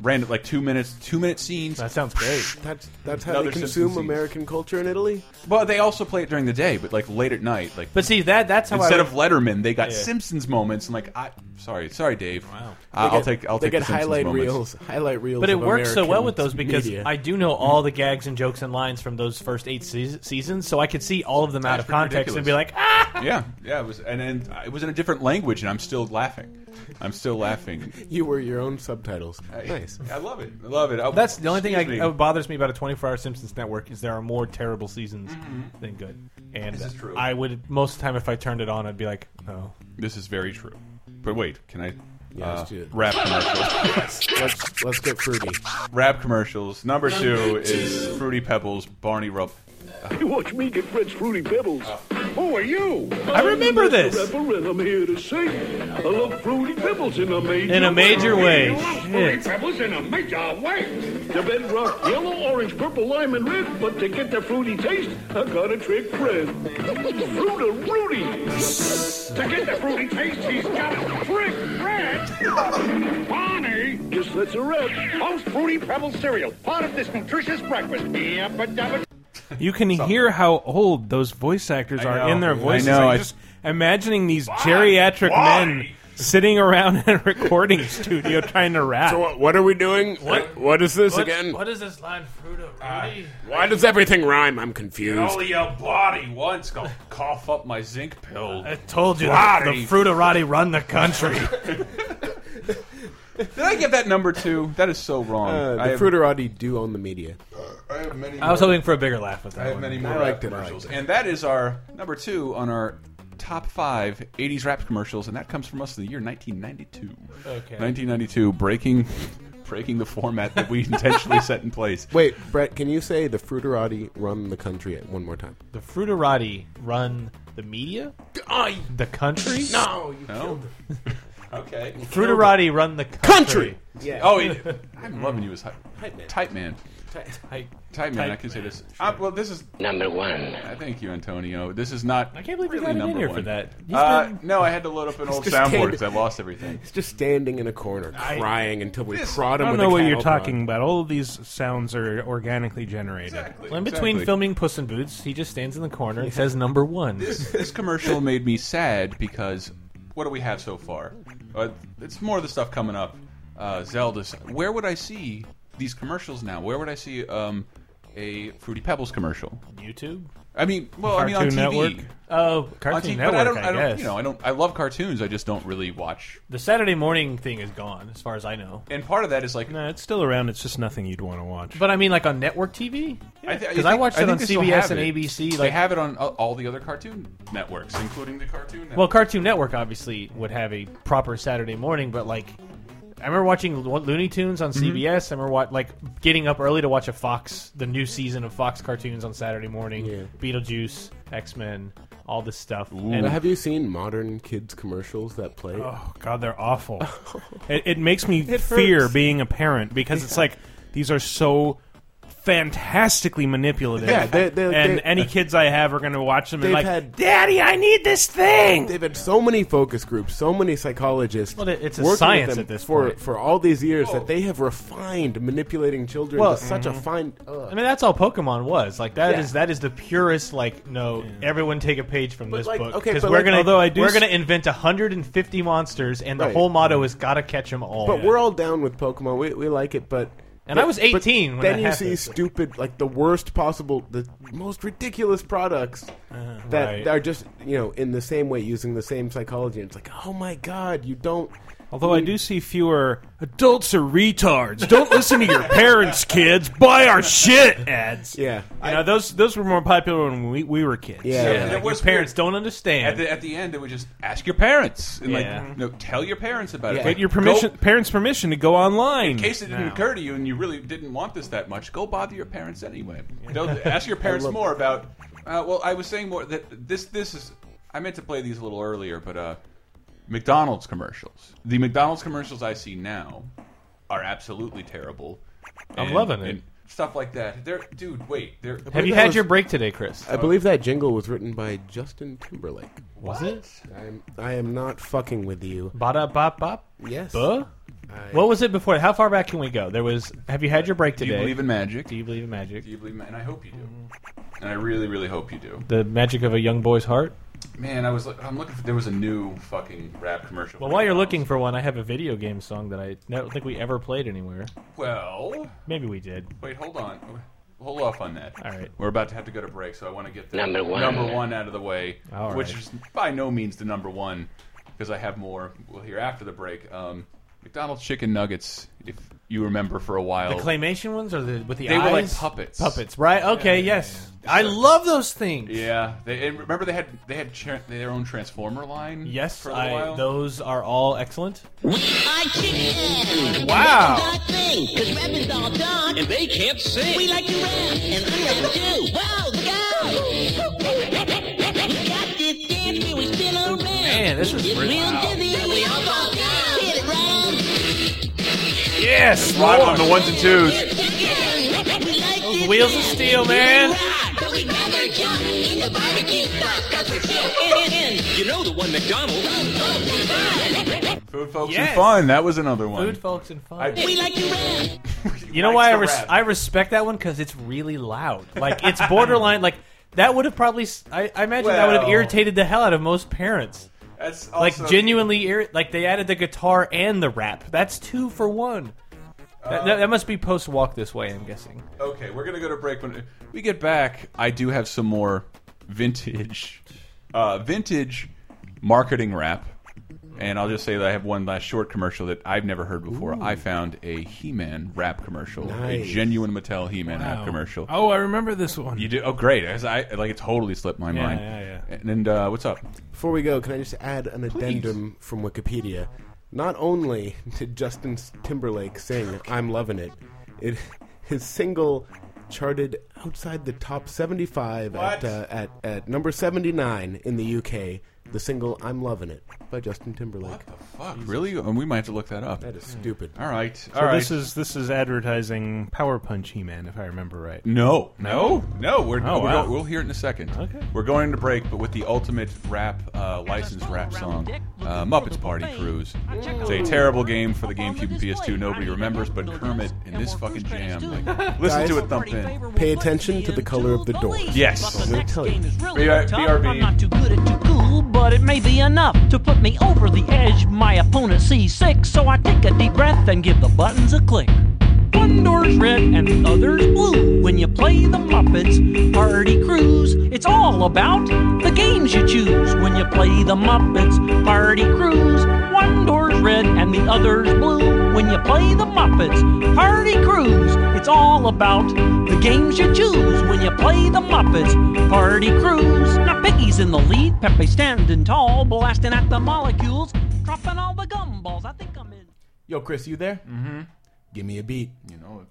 Speaker 3: random like two minutes, two minute scenes.
Speaker 5: That sounds great.
Speaker 6: That's that's how
Speaker 3: Another
Speaker 6: they consume
Speaker 3: Simpsons.
Speaker 6: American culture in Italy.
Speaker 3: Well, they also play it during the day, but like late at night, like
Speaker 5: But see that that's how
Speaker 3: instead
Speaker 5: I
Speaker 3: of Letterman, they got
Speaker 5: Yeah.
Speaker 3: Simpsons moments. And like, I sorry, sorry, Dave. Wow,
Speaker 6: They
Speaker 3: I'll
Speaker 6: get-
Speaker 3: take I'll
Speaker 6: they
Speaker 3: take
Speaker 6: get
Speaker 3: the Simpsons
Speaker 6: highlight
Speaker 3: moments.
Speaker 6: reels, highlight reels.
Speaker 5: But it
Speaker 6: of
Speaker 5: works so well
Speaker 6: American
Speaker 5: with those because
Speaker 6: media.
Speaker 5: I do know all the gags and jokes and lines from those first eight seas seasons, so I could see all of them out
Speaker 3: That's
Speaker 5: of context
Speaker 3: ridiculous.
Speaker 5: and be like, ah.
Speaker 3: Yeah, yeah, it was, and and it was in a different language, and I'm still laughing. I'm still laughing.
Speaker 6: you were your own subtitles. Nice.
Speaker 3: I love it. I love it. I-
Speaker 5: That's the only thing I,
Speaker 3: Excuse me.
Speaker 5: that bothers me about a 24-hour Simpsons network is there are more terrible seasons than good. And
Speaker 3: is true.
Speaker 5: I would most of the time if I turned it on, I'd be like, "Oh." no.
Speaker 3: This is very true. But wait, can I?
Speaker 6: Yeah,
Speaker 3: uh,
Speaker 6: let's do it.
Speaker 3: rap commercials.
Speaker 6: Let's let's get fruity.
Speaker 3: rap commercials. Number two is Fruity Pebbles, Barney Rub.
Speaker 9: Hey, watch me get Fred's Fruity Pebbles.
Speaker 12: Who are you?
Speaker 5: I remember
Speaker 12: I'm Mr.
Speaker 5: this.
Speaker 12: Rebel, and I'm here to sing. I love fruity pebbles in a major
Speaker 5: In a major way.
Speaker 12: You love fruity
Speaker 5: Shit.
Speaker 12: pebbles in a major way. The bedrock, yellow, orange, purple, lime, and red. But to get the fruity taste, I got a trick friend. Fruity Rudy. to get the fruity taste, he's got a trick friend. Bonnie. Guess that's a wrap. Most fruity pebble cereal, part of this nutritious breakfast. Yabba dabba.
Speaker 4: You can hear how old those voice actors
Speaker 3: I
Speaker 4: are
Speaker 3: know.
Speaker 4: in their
Speaker 3: I
Speaker 4: voices.
Speaker 3: know,
Speaker 4: I'm
Speaker 3: I-
Speaker 4: just imagining these geriatric men sitting around in a recording studio trying to rap.
Speaker 3: uh,
Speaker 6: So what, what are we doing? What what is this
Speaker 4: What-
Speaker 6: again?
Speaker 5: What is this line, Fruta Rudy?
Speaker 6: Why does everything rhyme? I'm confused.
Speaker 3: Only your body once gonna cough up my zinc pill.
Speaker 5: I told you, the,
Speaker 3: Body.
Speaker 5: the Fruta Rudy run the country.
Speaker 3: Did I get that number two? That is so wrong.
Speaker 6: Uh, the
Speaker 3: I have-
Speaker 6: Fruiterati do own the media.
Speaker 3: I have many.
Speaker 5: I was hoping for a bigger laugh with that.
Speaker 3: I have
Speaker 5: one.
Speaker 3: many
Speaker 6: I
Speaker 3: more
Speaker 6: liked
Speaker 3: rap
Speaker 6: it, I
Speaker 3: commercials,
Speaker 6: liked
Speaker 3: and that is our number two on our top five '80s rap commercials, and that comes from us in the year 1992.
Speaker 5: Okay.
Speaker 3: 1992, breaking, breaking the format that we intentionally set in place.
Speaker 6: Wait, Brett, can you say the Fruiterati run the country one more time?
Speaker 5: The Fruta Rudy run the media, the country.
Speaker 6: no, you
Speaker 3: No. okay.
Speaker 5: Fruta Rudy run the country.
Speaker 6: Yeah.
Speaker 3: Oh, it- I'm loving you as hype, type man.
Speaker 5: I,
Speaker 3: Type man, I can say this. Uh, well, this is
Speaker 11: Number one.
Speaker 3: Uh, Thank you, Antonio. This is not.
Speaker 5: I can't believe you
Speaker 3: really
Speaker 5: got it in
Speaker 3: number
Speaker 5: here
Speaker 3: one.
Speaker 5: for that. He's
Speaker 3: Uh,
Speaker 5: been-
Speaker 3: no, I had to load up an old
Speaker 6: just
Speaker 3: soundboard
Speaker 6: came-
Speaker 3: because I lost everything.
Speaker 6: He's just standing in a corner crying until we
Speaker 3: This-
Speaker 6: prod
Speaker 4: I
Speaker 6: him
Speaker 4: don't
Speaker 6: with
Speaker 4: know
Speaker 6: a
Speaker 4: what you're
Speaker 6: cattle
Speaker 4: talking about. All of these sounds are organically generated.
Speaker 5: Well, in between
Speaker 3: Exactly.
Speaker 5: filming Puss in Boots, he just stands in the corner and says number one.
Speaker 3: This commercial made me sad because what do we have so far? Uh, it's more of the stuff coming up. Uh, Zelda's. Where would I see these commercials now? Where would I see um, a Fruity Pebbles commercial?
Speaker 5: YouTube?
Speaker 3: I mean, well, I mean on
Speaker 4: Cartoon
Speaker 3: TV.
Speaker 4: Network?
Speaker 5: Oh,
Speaker 3: On
Speaker 5: Cartoon
Speaker 3: TV,
Speaker 5: Network,
Speaker 3: but I don't,
Speaker 5: I
Speaker 3: I don't,
Speaker 5: guess.
Speaker 3: you know, I don't. I love cartoons. I just don't really watch.
Speaker 5: the Saturday morning thing is gone, as far as I know.
Speaker 3: And part of that is like
Speaker 4: No, Uh, it's still around. It's just nothing you'd want to watch.
Speaker 5: But I mean, like on network TV?
Speaker 3: I thi-
Speaker 5: Because I
Speaker 3: think-
Speaker 5: watched it
Speaker 3: think
Speaker 5: on
Speaker 3: they still
Speaker 5: CBS
Speaker 3: have
Speaker 5: and
Speaker 3: it.
Speaker 5: ABC.
Speaker 3: they
Speaker 5: Like,
Speaker 3: have it on uh, all the other cartoon networks, including the Cartoon Network.
Speaker 5: well, Cartoon Network obviously would have a proper Saturday morning, but like, I remember watching Lo- Looney Tunes
Speaker 6: Mm-hmm.
Speaker 5: on CBS. I remember what, like getting up early to watch a Fox, the new season of Fox cartoons on Saturday morning.
Speaker 6: Yeah.
Speaker 5: Beetlejuice, X Men, all this stuff.
Speaker 6: Now,
Speaker 5: And
Speaker 6: Have you seen modern kids commercials that play?
Speaker 4: Oh God, they're awful. it, it makes me fear being a parent because it's like these are so fantastically manipulative.
Speaker 6: Yeah, they- they-
Speaker 4: and
Speaker 6: they-
Speaker 4: any kids I have are going to watch them and
Speaker 6: They've
Speaker 4: like,
Speaker 6: had-
Speaker 4: Daddy, I need this thing.
Speaker 6: They've had so many focus groups, so many psychologists.
Speaker 5: Well, it- it's a
Speaker 6: working with
Speaker 5: science
Speaker 6: them
Speaker 5: at this
Speaker 6: for
Speaker 5: point.
Speaker 6: for all these years that they have refined manipulating children
Speaker 5: Well,
Speaker 6: to such a fine. Uh,
Speaker 5: I mean, that's all Pokemon was. Like that is
Speaker 6: Yeah.
Speaker 5: that is the purest. Like, no, everyone take a page from this
Speaker 6: like,
Speaker 5: book
Speaker 6: okay,
Speaker 5: because
Speaker 6: but
Speaker 5: we're
Speaker 6: like,
Speaker 5: gonna
Speaker 4: although I do
Speaker 5: we're
Speaker 4: s-
Speaker 5: gonna invent 150 monsters, and the
Speaker 6: Right.
Speaker 5: whole motto is gotta catch them all.
Speaker 6: but we're all down with Pokemon. We, we like it, but.
Speaker 5: And
Speaker 6: but-
Speaker 5: I was
Speaker 6: but
Speaker 5: 18 when
Speaker 6: then
Speaker 5: that
Speaker 6: you see
Speaker 5: happened.
Speaker 6: stupid, like the worst possible, the most ridiculous products that
Speaker 5: Uh-huh. right.
Speaker 6: are just you know in the same way using the same psychology. And it's like, oh my god, you don't.
Speaker 4: Although I do see fewer adults are retards. Don't listen to your parents, kids. Buy our shit ads.
Speaker 6: Yeah,
Speaker 4: You know, those those were more popular when we, we were kids.
Speaker 6: Yeah.
Speaker 3: And
Speaker 5: Like,
Speaker 3: it was
Speaker 5: your parents
Speaker 3: weird.
Speaker 5: don't
Speaker 3: At
Speaker 5: understand.
Speaker 3: the, at the end, it would just ask your parents and
Speaker 5: Yeah.
Speaker 3: like, no, tell your parents about it.
Speaker 6: Yeah.
Speaker 3: Like,
Speaker 4: Get your permission,
Speaker 3: go-
Speaker 4: parents' permission to go online.
Speaker 3: in case it didn't occur to you and you really didn't want this that much, go bother your parents anyway. Don't ask your parents more about. Uh, well, I was saying more that this this is. I meant to play these a little earlier, but uh, McDonald's commercials. The McDonald's commercials I see now are absolutely terrible.
Speaker 5: I'm loving it.
Speaker 3: and stuff like that. They're, dude, wait. They're,
Speaker 5: Have you
Speaker 6: that
Speaker 5: had
Speaker 6: was-
Speaker 5: your break today, Chris?
Speaker 6: I believe that jingle was written by Justin Timberlake.
Speaker 5: Was it?
Speaker 6: I'm, I am not fucking with you.
Speaker 5: Bada bop bop.
Speaker 6: Yes.
Speaker 5: Buh? What was it before? How far back can we go? There was. Have you had your break
Speaker 3: Do
Speaker 5: today?
Speaker 3: you believe in magic?
Speaker 5: Do you Mm-hmm. believe in magic?
Speaker 3: Do you believe? in ma- And I hope you do. And I really, really hope you do.
Speaker 5: The magic of a young boy's heart.
Speaker 3: Man, I was. look- I'm looking. For, there was a new fucking rap commercial.
Speaker 5: Well, while you're looking for one, I have a video game song that I don't think we ever played anywhere.
Speaker 3: Well,
Speaker 5: Maybe we did.
Speaker 3: wait. Hold on. Hold off on that.
Speaker 5: All right.
Speaker 3: We're about to have to go to break, so I want to get the
Speaker 11: Number one.
Speaker 3: number one out of the way,
Speaker 5: All
Speaker 3: which
Speaker 5: right.
Speaker 3: is by no means the number one, because I have more. We'll hear after the break. Um, McDonald's chicken nuggets, if you remember for a
Speaker 5: The
Speaker 3: while.
Speaker 5: claymation ones or the with the
Speaker 3: Oh. They
Speaker 5: eyes?
Speaker 3: were like puppets.
Speaker 5: Puppets, right? Okay, yes. I love those things.
Speaker 3: yeah, they, and remember they had they had cha- their own transformer line.
Speaker 5: Yes,
Speaker 3: for a little
Speaker 5: I,
Speaker 3: while?
Speaker 5: those are all excellent.
Speaker 13: I chicken.
Speaker 5: Wow.
Speaker 13: That's our thing, cause rap is all dog.
Speaker 11: And they can't sing.
Speaker 13: We like to rap, and I rap too. Wow, go! You got
Speaker 5: Man, this is
Speaker 14: Real dizzy. we all fall down. Hit it round.
Speaker 5: Yes!
Speaker 3: Right on the ones and twos.
Speaker 5: Those wheels of steel, man.
Speaker 14: You know the one McDonald's.
Speaker 3: Food, folks,
Speaker 5: Yes.
Speaker 3: and fun. That was another one.
Speaker 5: Food, folks, and fun.
Speaker 14: We like you red.
Speaker 5: You know why I,
Speaker 3: to
Speaker 5: res-
Speaker 3: rap.
Speaker 5: I respect that one because it's really loud. Like it's borderline. like that would have probably. s- I, I imagine that would have
Speaker 3: Well-
Speaker 5: irritated the hell out of most parents.
Speaker 3: That's also-
Speaker 5: like genuinely irri- Like they added the guitar and the rap. That's two for one. That, that, that must be post walk this way. I'm guessing.
Speaker 3: Okay, we're gonna go to break. When we get back, I do have some more vintage, uh, vintage marketing rap, and I'll just say that I have one last short commercial that I've never heard before.
Speaker 4: Ooh.
Speaker 3: I found a He-Man rap commercial, a
Speaker 4: Nice.
Speaker 3: genuine Mattel He-Man rap
Speaker 4: Wow.
Speaker 3: commercial.
Speaker 4: Oh, I remember this one.
Speaker 3: You do? Oh, great! 'cause I like it totally slipped my
Speaker 4: Yeah,
Speaker 3: mind.
Speaker 4: yeah,
Speaker 3: yeah. And, and, uh, what's up?
Speaker 6: Before we go, can I just add an addendum from Wikipedia? Not only did Justin Timberlake sing "I'm Lovin' It," it his single charted outside the top 75 at, uh, at at number 79 in the UK. The single "I'm Lovin' It" by Justin Timberlake. What the Mm.
Speaker 3: fuck? Really? And we might have to look that up.
Speaker 6: That is stupid.
Speaker 3: All right.
Speaker 4: So
Speaker 3: All right.
Speaker 4: this is this is advertising Power Punch He Man, if I remember right.
Speaker 3: No, no, no. We're,
Speaker 4: Oh,
Speaker 3: we're
Speaker 4: wow.
Speaker 3: go- we'll hear it in a second. Okay. We're going to break, but with the ultimate rap, uh, licensed rap song, uh, Muppets Party Cruise. It's a terrible game for the GameCube and PS2. Nobody remembers, but Kermit in this fucking jam, like, listen to it thump in.
Speaker 6: Pay attention to the color of the door.
Speaker 3: Yes.
Speaker 6: I'm gonna tell you.
Speaker 3: BR-
Speaker 15: I'm not too good at too cool, but it may be enough to put me over the edge. My opponent sees six, so I take a deep breath and give the buttons a click. One door's red and the other's blue. When you play the Muppets Party Cruise, it's all about the games you choose. When you play the Muppets Party Cruise, one door's red and the other's blue. When you play the Muppets Party Cruise, it's all about the games you choose. When you play the Muppets Party Cruise, now Piggy's in the lead, Pepe standing tall, blasting at the molecules, dropping all the gumballs. I think I'm in.
Speaker 6: Yo, Chris, you there? Mm-hmm. Give me a beat.
Speaker 3: You know it.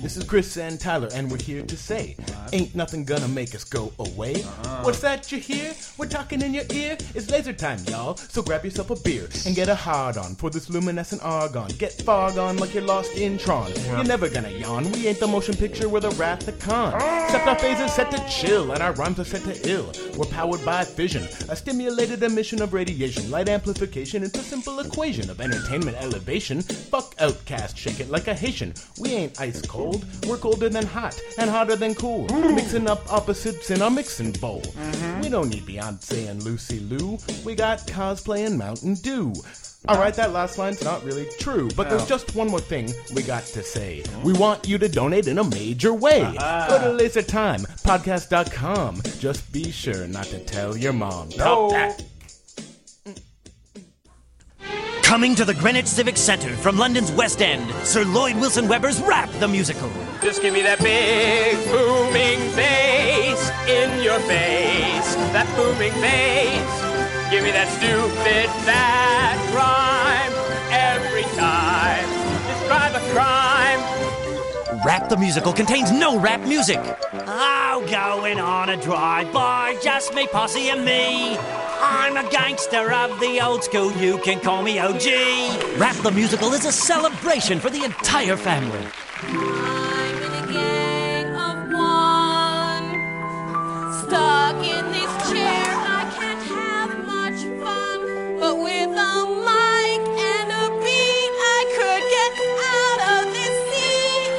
Speaker 6: This is Chris and Tyler, and we're here to say, ain't nothing gonna make us go away. What's that you hear? We're talking in your ear. It's laser time, y'all. So grab yourself a beer and get a hard on for this luminescent argon. Get fog on like you're lost in Tron. You're never gonna yawn. We ain't the motion picture. We're the wrath of con. Except our phase is set to chill and our rhymes are set to ill. We're powered by fission, a stimulated emission of radiation, light amplification. It's a simple equation of entertainment elevation. Fuck outcast, shake it like a Haitian. We ain't ice cold. We're colder than hot and hotter than cool. Mixing up opposites in our mixing bowl. We don't need Beyonce and Lucy Lou. We got cosplay and Mountain Dew. All right, that last line's not really true, but there's
Speaker 16: No.
Speaker 6: just one more thing we got to say. We want you to donate in a major way. Go to lasertimepodcast.com. Just be sure not to tell your mom.
Speaker 17: No.
Speaker 6: Pop that.
Speaker 17: Coming to the Greenwich Civic Centre from London's West End, Sir Lloyd Wilson Webber's Rap the Musical.
Speaker 18: Just give me that big booming bass in your face. That booming bass. Give me that stupid fat rhyme every time. Describe a crime.
Speaker 17: Rap the Musical contains no rap music. Oh, going on a drive-by, just me, posse, and me. I'm a gangster of the old school, you can call me OG. Rap the Musical is a celebration for the entire family.
Speaker 19: Stuck in this chair, I can't have much fun. But with a mic and a beat, I could get out of this seat.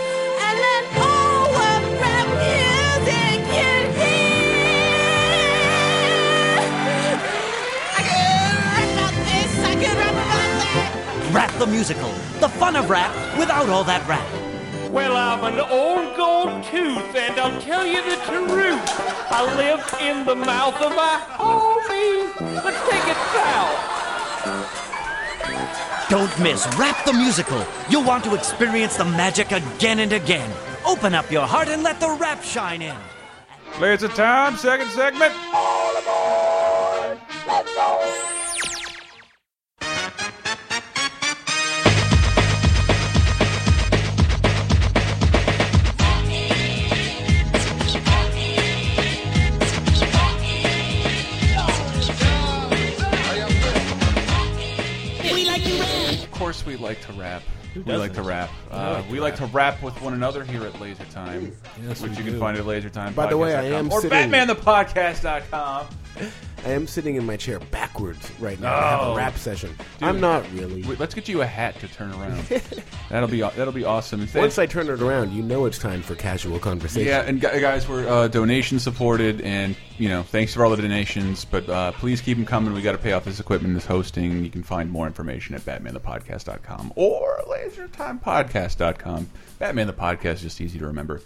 Speaker 19: And then all what rap music can hear. I could rap about this, I could rap about that.
Speaker 17: Rap the Musical, the fun of rap without all that rap.
Speaker 18: Well, I'm an old gold tooth, and I'll tell you the truth. I live in the mouth of a homie. Let's take it south.
Speaker 17: Don't miss Rap the Musical. You'll want to experience the magic again and again. Open up your heart and let the rap shine in.
Speaker 3: It's a time, second segment.
Speaker 19: All
Speaker 3: we like to rap. Uh, we like to rap with one another here at Laser Time,
Speaker 6: Yes,
Speaker 3: which
Speaker 6: we
Speaker 3: you can
Speaker 6: do.
Speaker 3: find at LaserTime.
Speaker 6: By the way, I am
Speaker 3: or
Speaker 6: sitting-
Speaker 3: BatmanThePodcast.com.
Speaker 6: I am sitting in my chair backwards right now. I have
Speaker 3: Oh.
Speaker 6: a rap session.
Speaker 3: Dude.
Speaker 6: I'm not really.
Speaker 3: Wait, Let's get you a hat to turn around. that'll be that'll be awesome. If they-
Speaker 6: Once I turn it around, you know it's time for casual conversation.
Speaker 3: Yeah, and gu- guys, we're uh, donation supported, and you know, thanks for all the donations. But uh, please keep them coming. We got to pay off this equipment, this hosting. You can find more information at BatmanThePodcast.com or LaserTimePodcast.com. Batman the podcast is just easy to remember.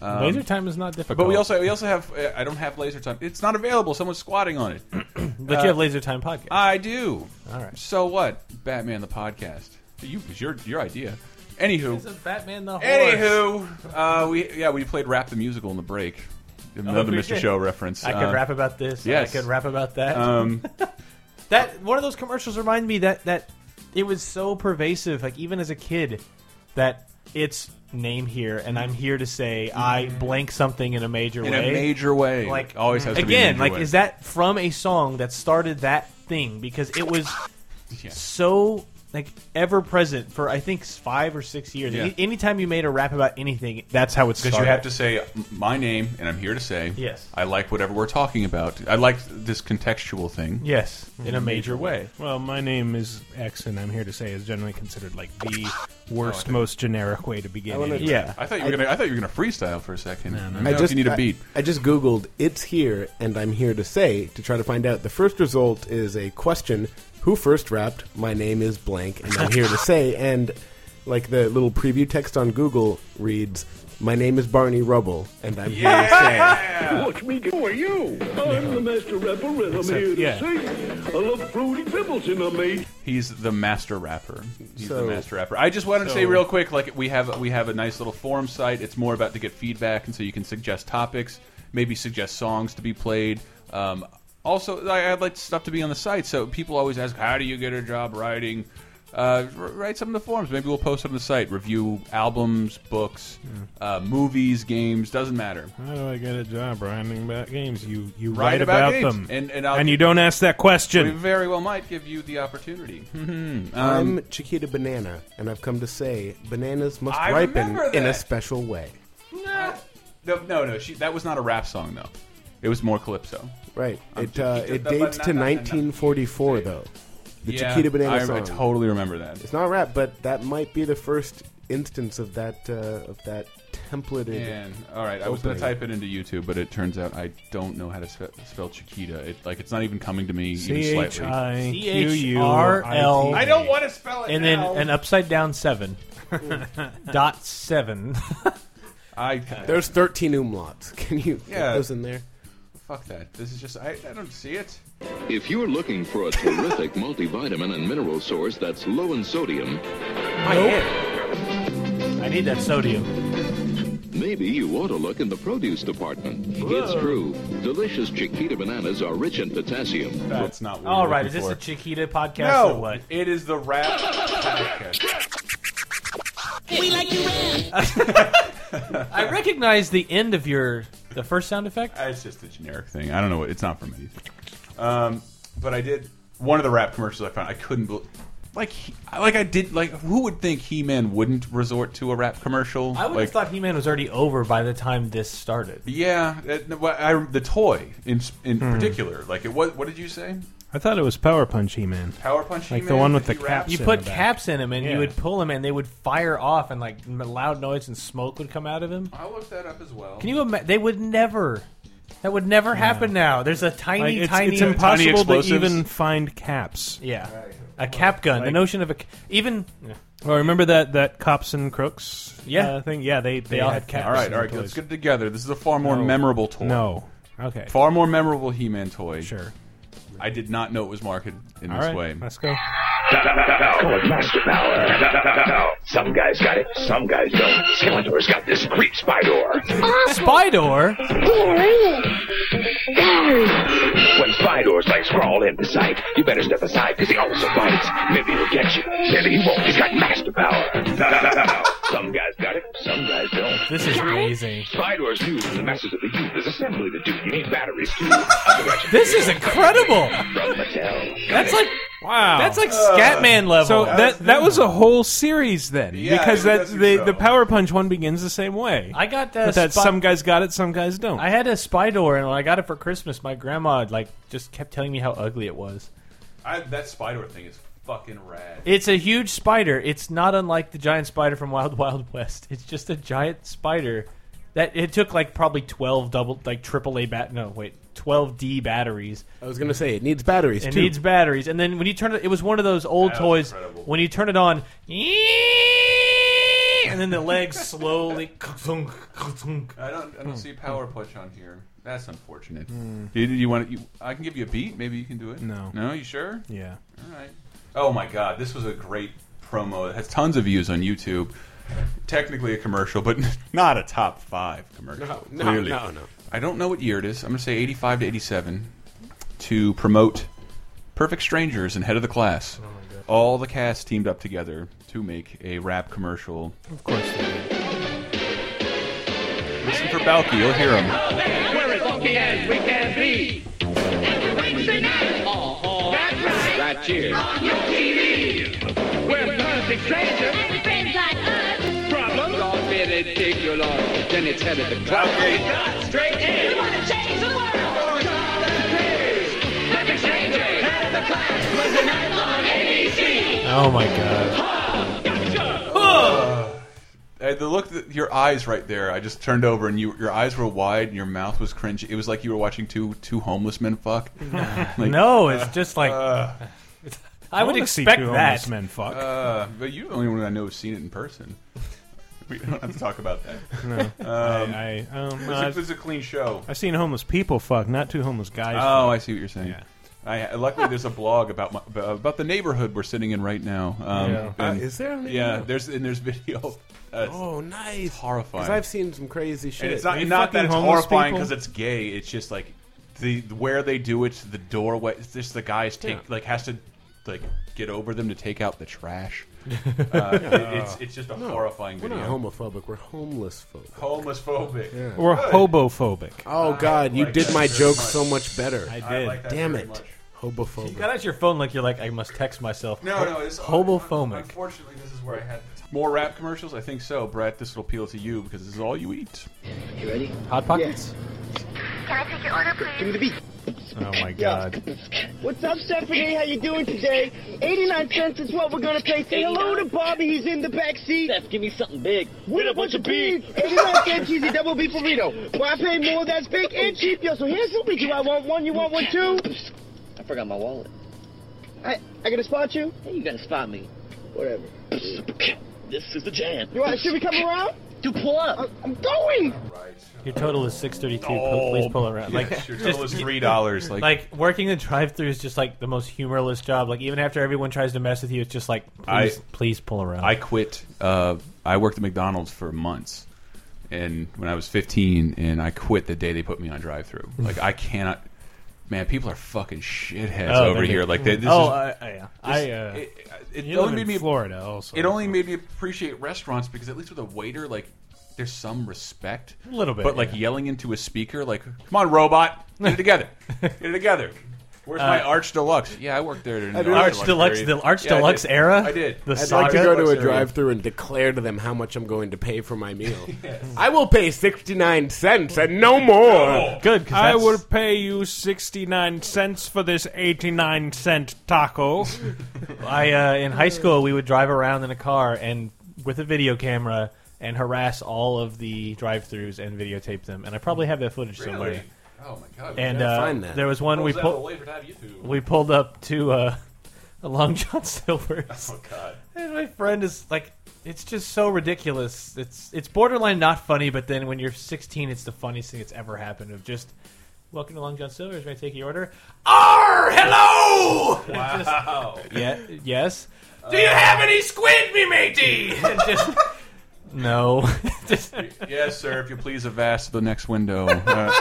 Speaker 3: Um,
Speaker 4: Laser time is not difficult.
Speaker 3: But we also we also have uh, I don't have laser time. It's not available. Someone's squatting on it.
Speaker 5: But
Speaker 3: Uh,
Speaker 5: you have Laser Time podcast.
Speaker 3: I do.
Speaker 5: All right.
Speaker 3: So what? Batman the podcast. You it was your your idea. Anywho.
Speaker 5: This is Batman the Horse.
Speaker 3: Anywho, uh, we yeah we played rap the musical in the break. Another
Speaker 5: Oh, we
Speaker 3: Mr.
Speaker 5: did.
Speaker 3: Show reference.
Speaker 5: I could
Speaker 3: Uh,
Speaker 5: rap about this.
Speaker 3: Yes.
Speaker 5: I could rap about that.
Speaker 3: Um,
Speaker 5: that one of those commercials reminded me that that it was so pervasive. Like even as a kid, that it's name here and I'm here to say I blank something in a major
Speaker 3: In a
Speaker 5: way.
Speaker 3: major way.
Speaker 5: Like
Speaker 3: Always has to be in a
Speaker 5: again.
Speaker 3: major
Speaker 5: like
Speaker 3: way.
Speaker 5: is that from a song that started that thing because it was so like ever present for I think five or six years.
Speaker 3: Yeah.
Speaker 5: Any, anytime you made a rap about anything, that's how it started.
Speaker 3: Because you have to say my name, and I'm here to say
Speaker 5: Yes.
Speaker 3: I like whatever we're talking about. I like this contextual thing.
Speaker 5: Yes, Mm-hmm. in a major way.
Speaker 4: Well, my name is X, and I'm here to say is generally considered like the
Speaker 3: Oh,
Speaker 4: worst,
Speaker 3: okay.
Speaker 4: most generic way to begin.
Speaker 6: I wanna-
Speaker 4: any-
Speaker 6: Yeah.
Speaker 3: I thought you were gonna. I thought you were gonna freestyle for a second.
Speaker 4: no.
Speaker 3: I know if you need a beat.
Speaker 6: I, I just googled "it's here" and "I'm here to say" to try to find out. The first result is a question: Who first rapped? My name is blank, and I'm here to say. And like the little preview text on Google reads, "My name is Barney Rubble, and I'm here to say."
Speaker 12: Watch me go. Who are you? I'm the master rapper, and I'm
Speaker 3: Except-
Speaker 12: here to
Speaker 3: yeah.
Speaker 12: sing. I love fruity pebbles in a mate.
Speaker 3: He's the master rapper. He's
Speaker 12: So-
Speaker 3: the master rapper. I just wanted to say
Speaker 12: so-
Speaker 3: real quick, like we have we have a nice little forum site. It's more about to get feedback, and so you can suggest topics, maybe suggest songs to be played. Um, also, I, I'd like stuff to be on the site. So people always ask, how do you get a job writing? Uh, r- write some in the forums. Maybe we'll post it on the site. Review albums, books, uh, movies, games. Doesn't matter.
Speaker 6: Hmm.
Speaker 4: How do I get a job writing about games? You you
Speaker 3: Write
Speaker 4: write,
Speaker 3: about
Speaker 4: about,
Speaker 3: games,
Speaker 4: them,
Speaker 3: and- and I'll
Speaker 4: you
Speaker 3: give-
Speaker 4: don't ask that
Speaker 3: We
Speaker 4: question.
Speaker 3: very well might give you the opportunity. Mhm. Um,
Speaker 6: I'm Chiquita Banana, and I've come to say bananas must
Speaker 3: I
Speaker 6: ripen
Speaker 3: remember
Speaker 6: in a
Speaker 3: that.
Speaker 6: special way.
Speaker 3: No, no, no. She, that was not a rap song, though. It was more calypso.
Speaker 6: Right.
Speaker 3: I'm
Speaker 6: it uh,
Speaker 3: Chiquita
Speaker 6: it
Speaker 3: the
Speaker 6: dates to
Speaker 3: Banana.
Speaker 6: 1944, though. The
Speaker 3: Yeah,
Speaker 6: Chiquita Banana
Speaker 3: I- I
Speaker 6: song.
Speaker 3: totally remember that.
Speaker 6: It's not rap, but that might be the first instance of that uh, of that templated.
Speaker 3: Man, all right. I was going to
Speaker 6: opening.
Speaker 3: type it into YouTube, but it turns out I don't know how to spe spell Chiquita. It, like, it's not even coming to me even
Speaker 4: C H
Speaker 3: slightly.
Speaker 4: I Q U
Speaker 5: R
Speaker 4: I T
Speaker 5: L.
Speaker 4: A.
Speaker 3: to spell
Speaker 5: And then an upside down seven. Dot seven.
Speaker 3: I
Speaker 6: There's 13 umlauts. Can you
Speaker 3: Yeah.
Speaker 6: get those in there?
Speaker 3: Fuck that. This is just. I, I don't see it.
Speaker 20: If you're looking for a terrific multivitamin and mineral source that's low in sodium,
Speaker 5: I need that sodium.
Speaker 20: maybe you ought to look in the produce department. It's true. Delicious Chiquita bananas are rich in potassium.
Speaker 3: That's not
Speaker 5: All right, is this a Chiquita podcast
Speaker 20: No,
Speaker 5: or what?
Speaker 3: It is the rap podcast.
Speaker 13: We like you
Speaker 5: I recognize the end of your the first sound effect.
Speaker 3: It's just a generic thing. I don't know. what- It's not from anything. Um, but I did one of the rap commercials. I found I couldn't believe. Like, he, like I did. Like, who would think He-Man wouldn't resort to a rap commercial?
Speaker 5: I would
Speaker 3: like,
Speaker 5: have thought He Man was already over by the time this started.
Speaker 3: Yeah, it, well, I, the toy in in
Speaker 4: Hmm.
Speaker 3: particular. Like, it was. What did you say?
Speaker 4: I thought it was Power Punch He Man.
Speaker 3: Power Punch
Speaker 4: like the
Speaker 3: He-Man?
Speaker 4: one with the
Speaker 3: Did he rap?
Speaker 4: caps.
Speaker 5: You
Speaker 4: in
Speaker 5: put
Speaker 4: the back.
Speaker 5: caps in him, and
Speaker 4: Yeah.
Speaker 5: you would pull him, and they would fire off, and like m- loud noise and smoke would come out of him.
Speaker 3: I looked that up as well.
Speaker 5: Can you imagine? They would never. That would never happen now. There's a tiny,
Speaker 4: Like, it's,
Speaker 5: tiny.
Speaker 4: it's impossible to even find caps.
Speaker 5: Yeah, a cap gun. the
Speaker 4: Like-
Speaker 5: notion of a c- even.
Speaker 4: Well, remember that that cops and crooks
Speaker 5: Yeah.
Speaker 4: uh, thing. Yeah, they they,
Speaker 5: all
Speaker 4: had
Speaker 5: had
Speaker 4: caps.
Speaker 3: All right,
Speaker 4: and
Speaker 3: all right.
Speaker 4: toys.
Speaker 3: Let's get it together. This is a far more
Speaker 4: No.
Speaker 3: memorable toy.
Speaker 4: No. Okay.
Speaker 3: Far more memorable He-Man toy.
Speaker 4: Sure.
Speaker 3: I did not know it was marketed in
Speaker 4: All
Speaker 3: this
Speaker 4: right,
Speaker 3: way.
Speaker 4: Let's go.
Speaker 21: Power, master power. Some guys got it, some guys don't. Skeletor's got this great spider.
Speaker 5: Spidor.
Speaker 21: When spiders like crawl into sight, you better step aside because he also bites. Maybe he'll get you, maybe he won't. He's got master power. Some guys got it, some guys don't.
Speaker 5: This is amazing.
Speaker 21: Spiders used in the message of the youth is assembly to do. You need batteries too. Otherwise,
Speaker 5: This is incredible.
Speaker 21: From Mattel.
Speaker 5: That's like
Speaker 4: Wow,
Speaker 5: That's like Scatman level.
Speaker 4: So that that was a whole series then,
Speaker 5: Yeah,
Speaker 4: because
Speaker 5: I
Speaker 4: that
Speaker 5: think
Speaker 4: the, the power punch one begins the same way.
Speaker 5: I got
Speaker 4: that.
Speaker 5: that
Speaker 4: That
Speaker 5: spot-
Speaker 4: some guys got it, some guys don't.
Speaker 5: I had a spy door, and when I got it for Christmas, my grandma like just kept telling me how ugly it was.
Speaker 3: I, that spider thing is fucking rad.
Speaker 5: It's a huge spider. It's not unlike the giant spider from Wild Wild West. It's just a giant spider that it took like probably twelve double like AAA bat. No, wait, twelve D batteries.
Speaker 6: I was gonna say it needs batteries.
Speaker 5: It
Speaker 6: too.
Speaker 5: needs batteries, and then when you turn it, it was one of those old
Speaker 6: That was
Speaker 5: toys. When you turn it on, and then the legs slowly.
Speaker 3: I don't. I don't see power punch on here. That's unfortunate.
Speaker 6: Hmm.
Speaker 3: Do you, do you want? You, I can give you a beat. Maybe you can do it.
Speaker 4: No.
Speaker 3: No. You sure?
Speaker 4: Yeah.
Speaker 3: All right. Oh my God! This was a great promo. It has tons of views on YouTube. Technically a commercial, but not a top five commercial.
Speaker 6: No, no,
Speaker 3: clearly.
Speaker 6: no, no.
Speaker 3: I don't know what year it is. I'm going to say 85 to 87 to promote Perfect Strangers and Head of the
Speaker 6: Oh,
Speaker 3: Class. All the cast teamed up together to make a rap commercial. Of course. Listen for Balky. You'll hear him.
Speaker 13: We're as lucky as we can be. Every Wednesday night. That's right.
Speaker 21: Right here.
Speaker 13: On your TV. We're perfect strangers. And friends like us. Problems.
Speaker 21: All ridiculous. Then it's headed to cloud.
Speaker 13: Straight in. We want to change the world. Perfect strangers. Head of the class. Wednesday night on ABC.
Speaker 5: Oh my god.
Speaker 3: Uh, the look, that, your eyes right there. I just turned over and you, your eyes were wide and your mouth was cringy. It was like you were watching two two homeless men fuck. Like,
Speaker 5: no, it's just like I would
Speaker 4: uh, wanna see
Speaker 5: expect
Speaker 4: two
Speaker 5: that.
Speaker 4: homeless men fuck.
Speaker 3: Uh, but you're the only one I know has seen it in person. We don't have to talk about that.
Speaker 4: No.
Speaker 3: Um,
Speaker 4: I- I, um,
Speaker 3: it was,
Speaker 4: no,
Speaker 3: a,
Speaker 4: I've-
Speaker 3: it was a clean show.
Speaker 4: I've seen homeless people fuck, not two homeless guys.
Speaker 3: Oh,
Speaker 4: fuck.
Speaker 3: I see what you're saying. I, luckily, there's a blog about my, about the neighborhood we're sitting in right now. Um,
Speaker 6: Yeah.
Speaker 3: and-
Speaker 6: Uh, is there a
Speaker 3: Yeah,
Speaker 6: neighborhood?
Speaker 3: there's and there's video. Uh,
Speaker 6: Oh, nice!
Speaker 3: horrifying.
Speaker 6: Because I've seen some crazy shit.
Speaker 3: And it's not,
Speaker 6: They
Speaker 3: not
Speaker 6: fucking
Speaker 3: that it's
Speaker 6: homeless
Speaker 3: horrifying
Speaker 6: people-
Speaker 3: because it's gay. It's just like the where they do it, the doorway. It's just the guys take
Speaker 6: Yeah.
Speaker 3: like has to like get over them to take out the trash. Uh, it- it's it's just a
Speaker 6: No,
Speaker 3: horrifying
Speaker 6: we're
Speaker 3: video.
Speaker 6: not homophobic. We're homeless phobic.
Speaker 3: Homeless phobic.
Speaker 6: Yeah.
Speaker 4: Or
Speaker 3: Good.
Speaker 4: hobophobic.
Speaker 6: Oh God, you
Speaker 3: like
Speaker 6: did
Speaker 3: that
Speaker 6: my
Speaker 3: very
Speaker 6: joke
Speaker 3: much.
Speaker 6: so much better.
Speaker 3: I I did. like that
Speaker 6: Damn
Speaker 3: very
Speaker 6: it,
Speaker 3: much.
Speaker 5: You
Speaker 6: hobophobic.
Speaker 5: got out your phone like you're like I must text myself.
Speaker 3: No, no, it's
Speaker 5: homophobic.
Speaker 3: Unfortunately, this is where I had the time. more rap commercials. I think so, Brett. This will appeal to you because this is all you eat.
Speaker 11: You ready?
Speaker 5: Hot pockets.
Speaker 13: Can I take your order, please?
Speaker 11: Give me the beat.
Speaker 5: Oh my god.
Speaker 13: What's up, Stephanie? How you doing today? 89 cents is what we're gonna pay. Say hello to Bobby. He's in the back seat. Steph, give me something big. With a bunch of beef. 89 cents, cheesy double beef burrito. Well, I pay more. That's big and cheap, yo. So here's what we do. I want one. You want one too?
Speaker 11: I forgot my wallet.
Speaker 13: I I gotta spot you.
Speaker 11: Hey, you gotta spot me. Whatever. This is the jam.
Speaker 13: You want, should we come around? Do pull up. I'm going.
Speaker 5: Your total is six thirty two.
Speaker 3: Oh,
Speaker 5: Please pull around. Like
Speaker 3: yes, your
Speaker 5: just-
Speaker 3: total is $3, like-
Speaker 5: like working the drive through is just like the most humorless job. Like even after everyone tries to mess with you, it's just like
Speaker 3: I-
Speaker 5: please, please pull around.
Speaker 3: I quit. Uh, I worked at McDonald's for months, and when I was 15, and I quit the day they put me on drive-through.
Speaker 5: Hmm.
Speaker 3: Like I cannot. Man, people are fucking shitheads
Speaker 5: Oh,
Speaker 3: over
Speaker 5: they-
Speaker 3: here. Like they, this
Speaker 5: oh,
Speaker 3: is,
Speaker 5: I- I- yeah. I, uh,
Speaker 3: it, it
Speaker 5: you
Speaker 3: only
Speaker 5: live
Speaker 3: made
Speaker 5: in
Speaker 3: me
Speaker 5: Florida also.
Speaker 3: It only made me appreciate restaurants because at least with a waiter, like there's some respect,
Speaker 5: A little bit,
Speaker 3: But like
Speaker 5: yeah.
Speaker 3: yelling into a speaker, like "Come on, robot, get it together, get it together." Where's my
Speaker 5: Uh,
Speaker 3: Arch Deluxe? Yeah, I worked there. during
Speaker 5: I
Speaker 3: the
Speaker 5: do. Arch Deluxe-
Speaker 3: period.
Speaker 5: the Arch
Speaker 3: Yeah, I did.
Speaker 5: Deluxe era?
Speaker 3: I did.
Speaker 5: The
Speaker 6: I'd
Speaker 5: saga?
Speaker 6: like to go to a
Speaker 5: What's your-
Speaker 6: drive-through and declare to them how much I'm going to pay for my meal. I will pay sixty-nine cents and no more.
Speaker 5: Good.
Speaker 4: I will pay you sixty nine cents for this eighty nine cent taco.
Speaker 5: I uh, in high school we would drive around in a car and with a video camera and harass all of the drive-throughs and videotape them. And I probably have that footage somewhere.
Speaker 3: Oh my god! we
Speaker 5: And
Speaker 3: gotta
Speaker 5: uh,
Speaker 3: find that.
Speaker 5: there was one
Speaker 3: What
Speaker 5: we
Speaker 3: that
Speaker 5: pulled.
Speaker 3: away for that YouTube?
Speaker 5: We pulled up to uh, a Long John Silver's.
Speaker 3: Oh god!
Speaker 5: And my friend is like, it's just so ridiculous. It's it's borderline not funny, but then when you're 16, it's the funniest thing that's ever happened. Of just welcome to Long John Silver's. May I take your order? Arr! Hello! And just-
Speaker 13: Wow.
Speaker 5: yeah. Yes.
Speaker 13: Do you have any squid, me matey?
Speaker 5: And just- no. Just-
Speaker 3: yes, sir. If you please, avast the next window. Uh,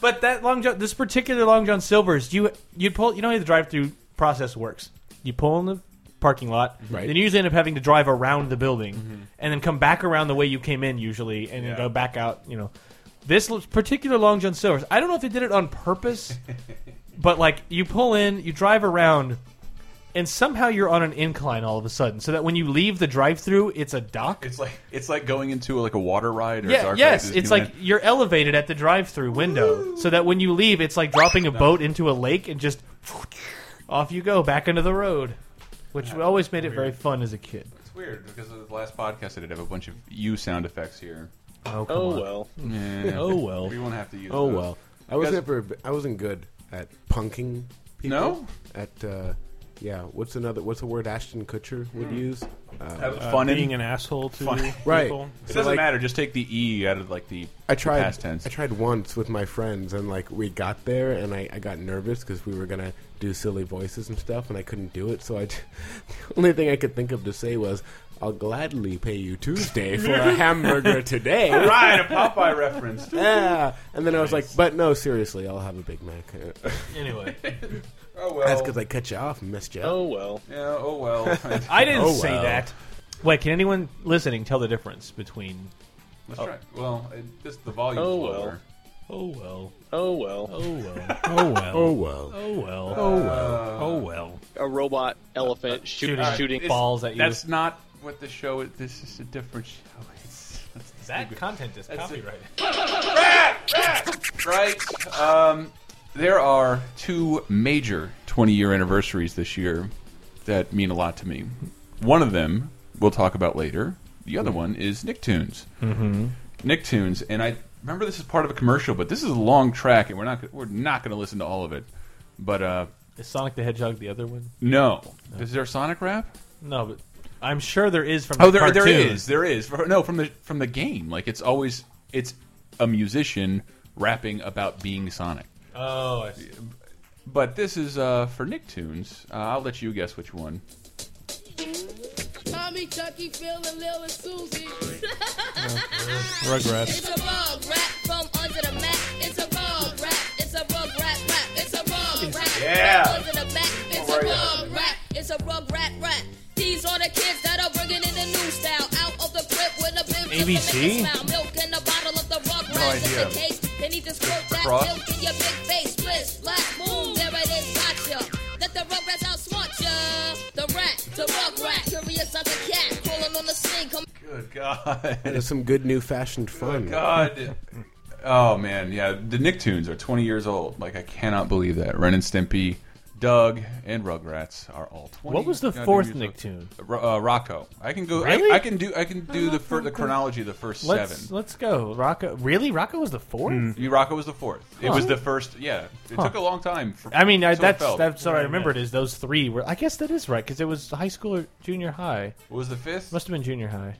Speaker 5: But that long john, this particular long john silver's, you you pull, you know how the drive-through process works. You pull in the parking lot,
Speaker 6: Right.
Speaker 5: then you usually end up having to drive around the building, and then come back around the way you came in usually, and then go back out. You know, this l- particular long john silver's, I don't know if they did it on purpose, but like you pull in, you drive around, and somehow you're on an incline all of a sudden, so that when you leave the drive-through, it's a dock.
Speaker 3: It's like it's like going into like a water ride. Or a
Speaker 5: Yeah,
Speaker 3: dark
Speaker 5: yes,
Speaker 3: ride at
Speaker 5: it's like
Speaker 3: Disneyland.
Speaker 5: you're elevated at the drive-through window, so that when you leave, it's like dropping a boat into a lake and just off you go back into the road, which always made it very fun as a kid.
Speaker 3: It's weird because of the last podcast I did have a bunch of you sound effects here.
Speaker 6: come
Speaker 5: Oh,
Speaker 6: Oh, on. well.
Speaker 3: Yeah.
Speaker 6: Oh, well.
Speaker 3: We won't have to use.
Speaker 6: Oh
Speaker 3: those.
Speaker 6: well. I
Speaker 3: You
Speaker 6: was
Speaker 3: guys-
Speaker 6: never. I wasn't good at punking people.
Speaker 3: No?
Speaker 6: At uh, yeah. What's another? What's the word Ashton Kutcher would use? Uh,
Speaker 3: Have fun in- Fun-
Speaker 6: right.
Speaker 3: It
Speaker 6: So,
Speaker 3: doesn't
Speaker 6: like,
Speaker 3: matter. Just take the e out of like the
Speaker 6: I tried.
Speaker 3: past tense.
Speaker 6: I tried once with my friends, and like we got there, and I, I got nervous because we were gonna do silly voices and stuff, and I couldn't do it. So I, j- the only thing I could think of to say was, "I'll gladly pay you Tuesday for a hamburger today."
Speaker 3: right, a Popeye reference.
Speaker 22: Ah,
Speaker 6: yeah. And then I was like, but no, seriously, I'll have a Big Mac. Uh,
Speaker 5: Anyway.
Speaker 3: oh well.
Speaker 6: That's because I cut you off and missed you.
Speaker 3: well. Yeah. Oh well.
Speaker 5: I didn't
Speaker 6: Oh,
Speaker 5: say
Speaker 6: well.
Speaker 5: that. Wait, can anyone listening tell the difference between?
Speaker 3: Let's try. Well, it, just the volume.
Speaker 5: Oh, well.
Speaker 3: lower.
Speaker 5: Oh well.
Speaker 22: Oh well.
Speaker 5: Oh well.
Speaker 4: Oh well.
Speaker 6: Oh well.
Speaker 5: Oh well.
Speaker 22: Oh,
Speaker 5: well. Oh well.
Speaker 22: A robot elephant shooting
Speaker 3: All right,
Speaker 22: shooting
Speaker 3: it's-
Speaker 22: balls at you.
Speaker 3: That's not what the show. is. This is a different show. It's, it's
Speaker 5: That content is copyrighted.
Speaker 3: right. Um, there are two major 20 year anniversaries this year that mean a lot to me. One of them we'll talk about later. The other one is Nicktoons.
Speaker 4: Mhm.
Speaker 3: Nicktoons, and I remember this is part of a commercial, but this is a long track, and we're not gonna- we're not going to listen to all of it. But uh,
Speaker 5: Is Sonic the Hedgehog the other one?
Speaker 3: no, is there a Sonic rap?
Speaker 5: No, but I'm sure there is from.
Speaker 3: Oh,
Speaker 5: the
Speaker 3: there there
Speaker 5: cartoon.
Speaker 3: is there is no from the from the game. Like it's always it's a musician rapping about being Sonic.
Speaker 5: Oh, I see.
Speaker 3: But this is uh, for Nicktoons. Uh, I'll let you guess which one.
Speaker 23: Tommy, Chucky, Phil, and Lil, and Susie.
Speaker 4: Rugrats.
Speaker 23: It's a bug rap from under the mat. It's a bug rap. It's a bug rap rap. It's a bug rap.
Speaker 24: Yeah.
Speaker 23: From under the mat. It's a bug rap. It's a bug rap rap. These are the kids that are bringing in the new style. Out of the crib with a bib. just to
Speaker 5: ABC?
Speaker 23: make us smile. Milk in a bottle of the rug
Speaker 5: No
Speaker 23: rap. Just
Speaker 5: idea.
Speaker 23: in case they need to squirt that
Speaker 5: Cross?
Speaker 23: milk in your big face. Split, splash, boom. There it is. Gotcha. Let the rug rats outsmart ya. The rat, the rug rat. Curious as a cat. Crawling on the scene. Come
Speaker 3: Good God.
Speaker 6: There's some good new fashioned fun.
Speaker 3: God. Oh man, yeah. The Nicktoons are 20 years old. Like I cannot believe that. Ren and Stimpy, Doug, and Rugrats are all 20.
Speaker 5: What was the
Speaker 3: goddamn
Speaker 5: fourth
Speaker 3: years old.
Speaker 5: Nicktoon?
Speaker 3: Ro- Uh, Rocco. I can go. I-
Speaker 5: Really?
Speaker 3: I, can do. I can do the fir the chronology of the 1st
Speaker 5: Let's
Speaker 3: seven.
Speaker 5: let's go. Rocco, really? Rocco was the fourth.
Speaker 3: You- Rocco was the fourth. It
Speaker 5: Huh.
Speaker 3: was the first. Yeah, it
Speaker 5: Huh.
Speaker 3: took a long time. For,
Speaker 5: I mean, I,
Speaker 3: so it
Speaker 5: that's
Speaker 3: felt.
Speaker 5: that's all I remembered is those three were. I guess that is right because it was high school or junior high.
Speaker 3: What was the fifth?
Speaker 5: Must have been junior high.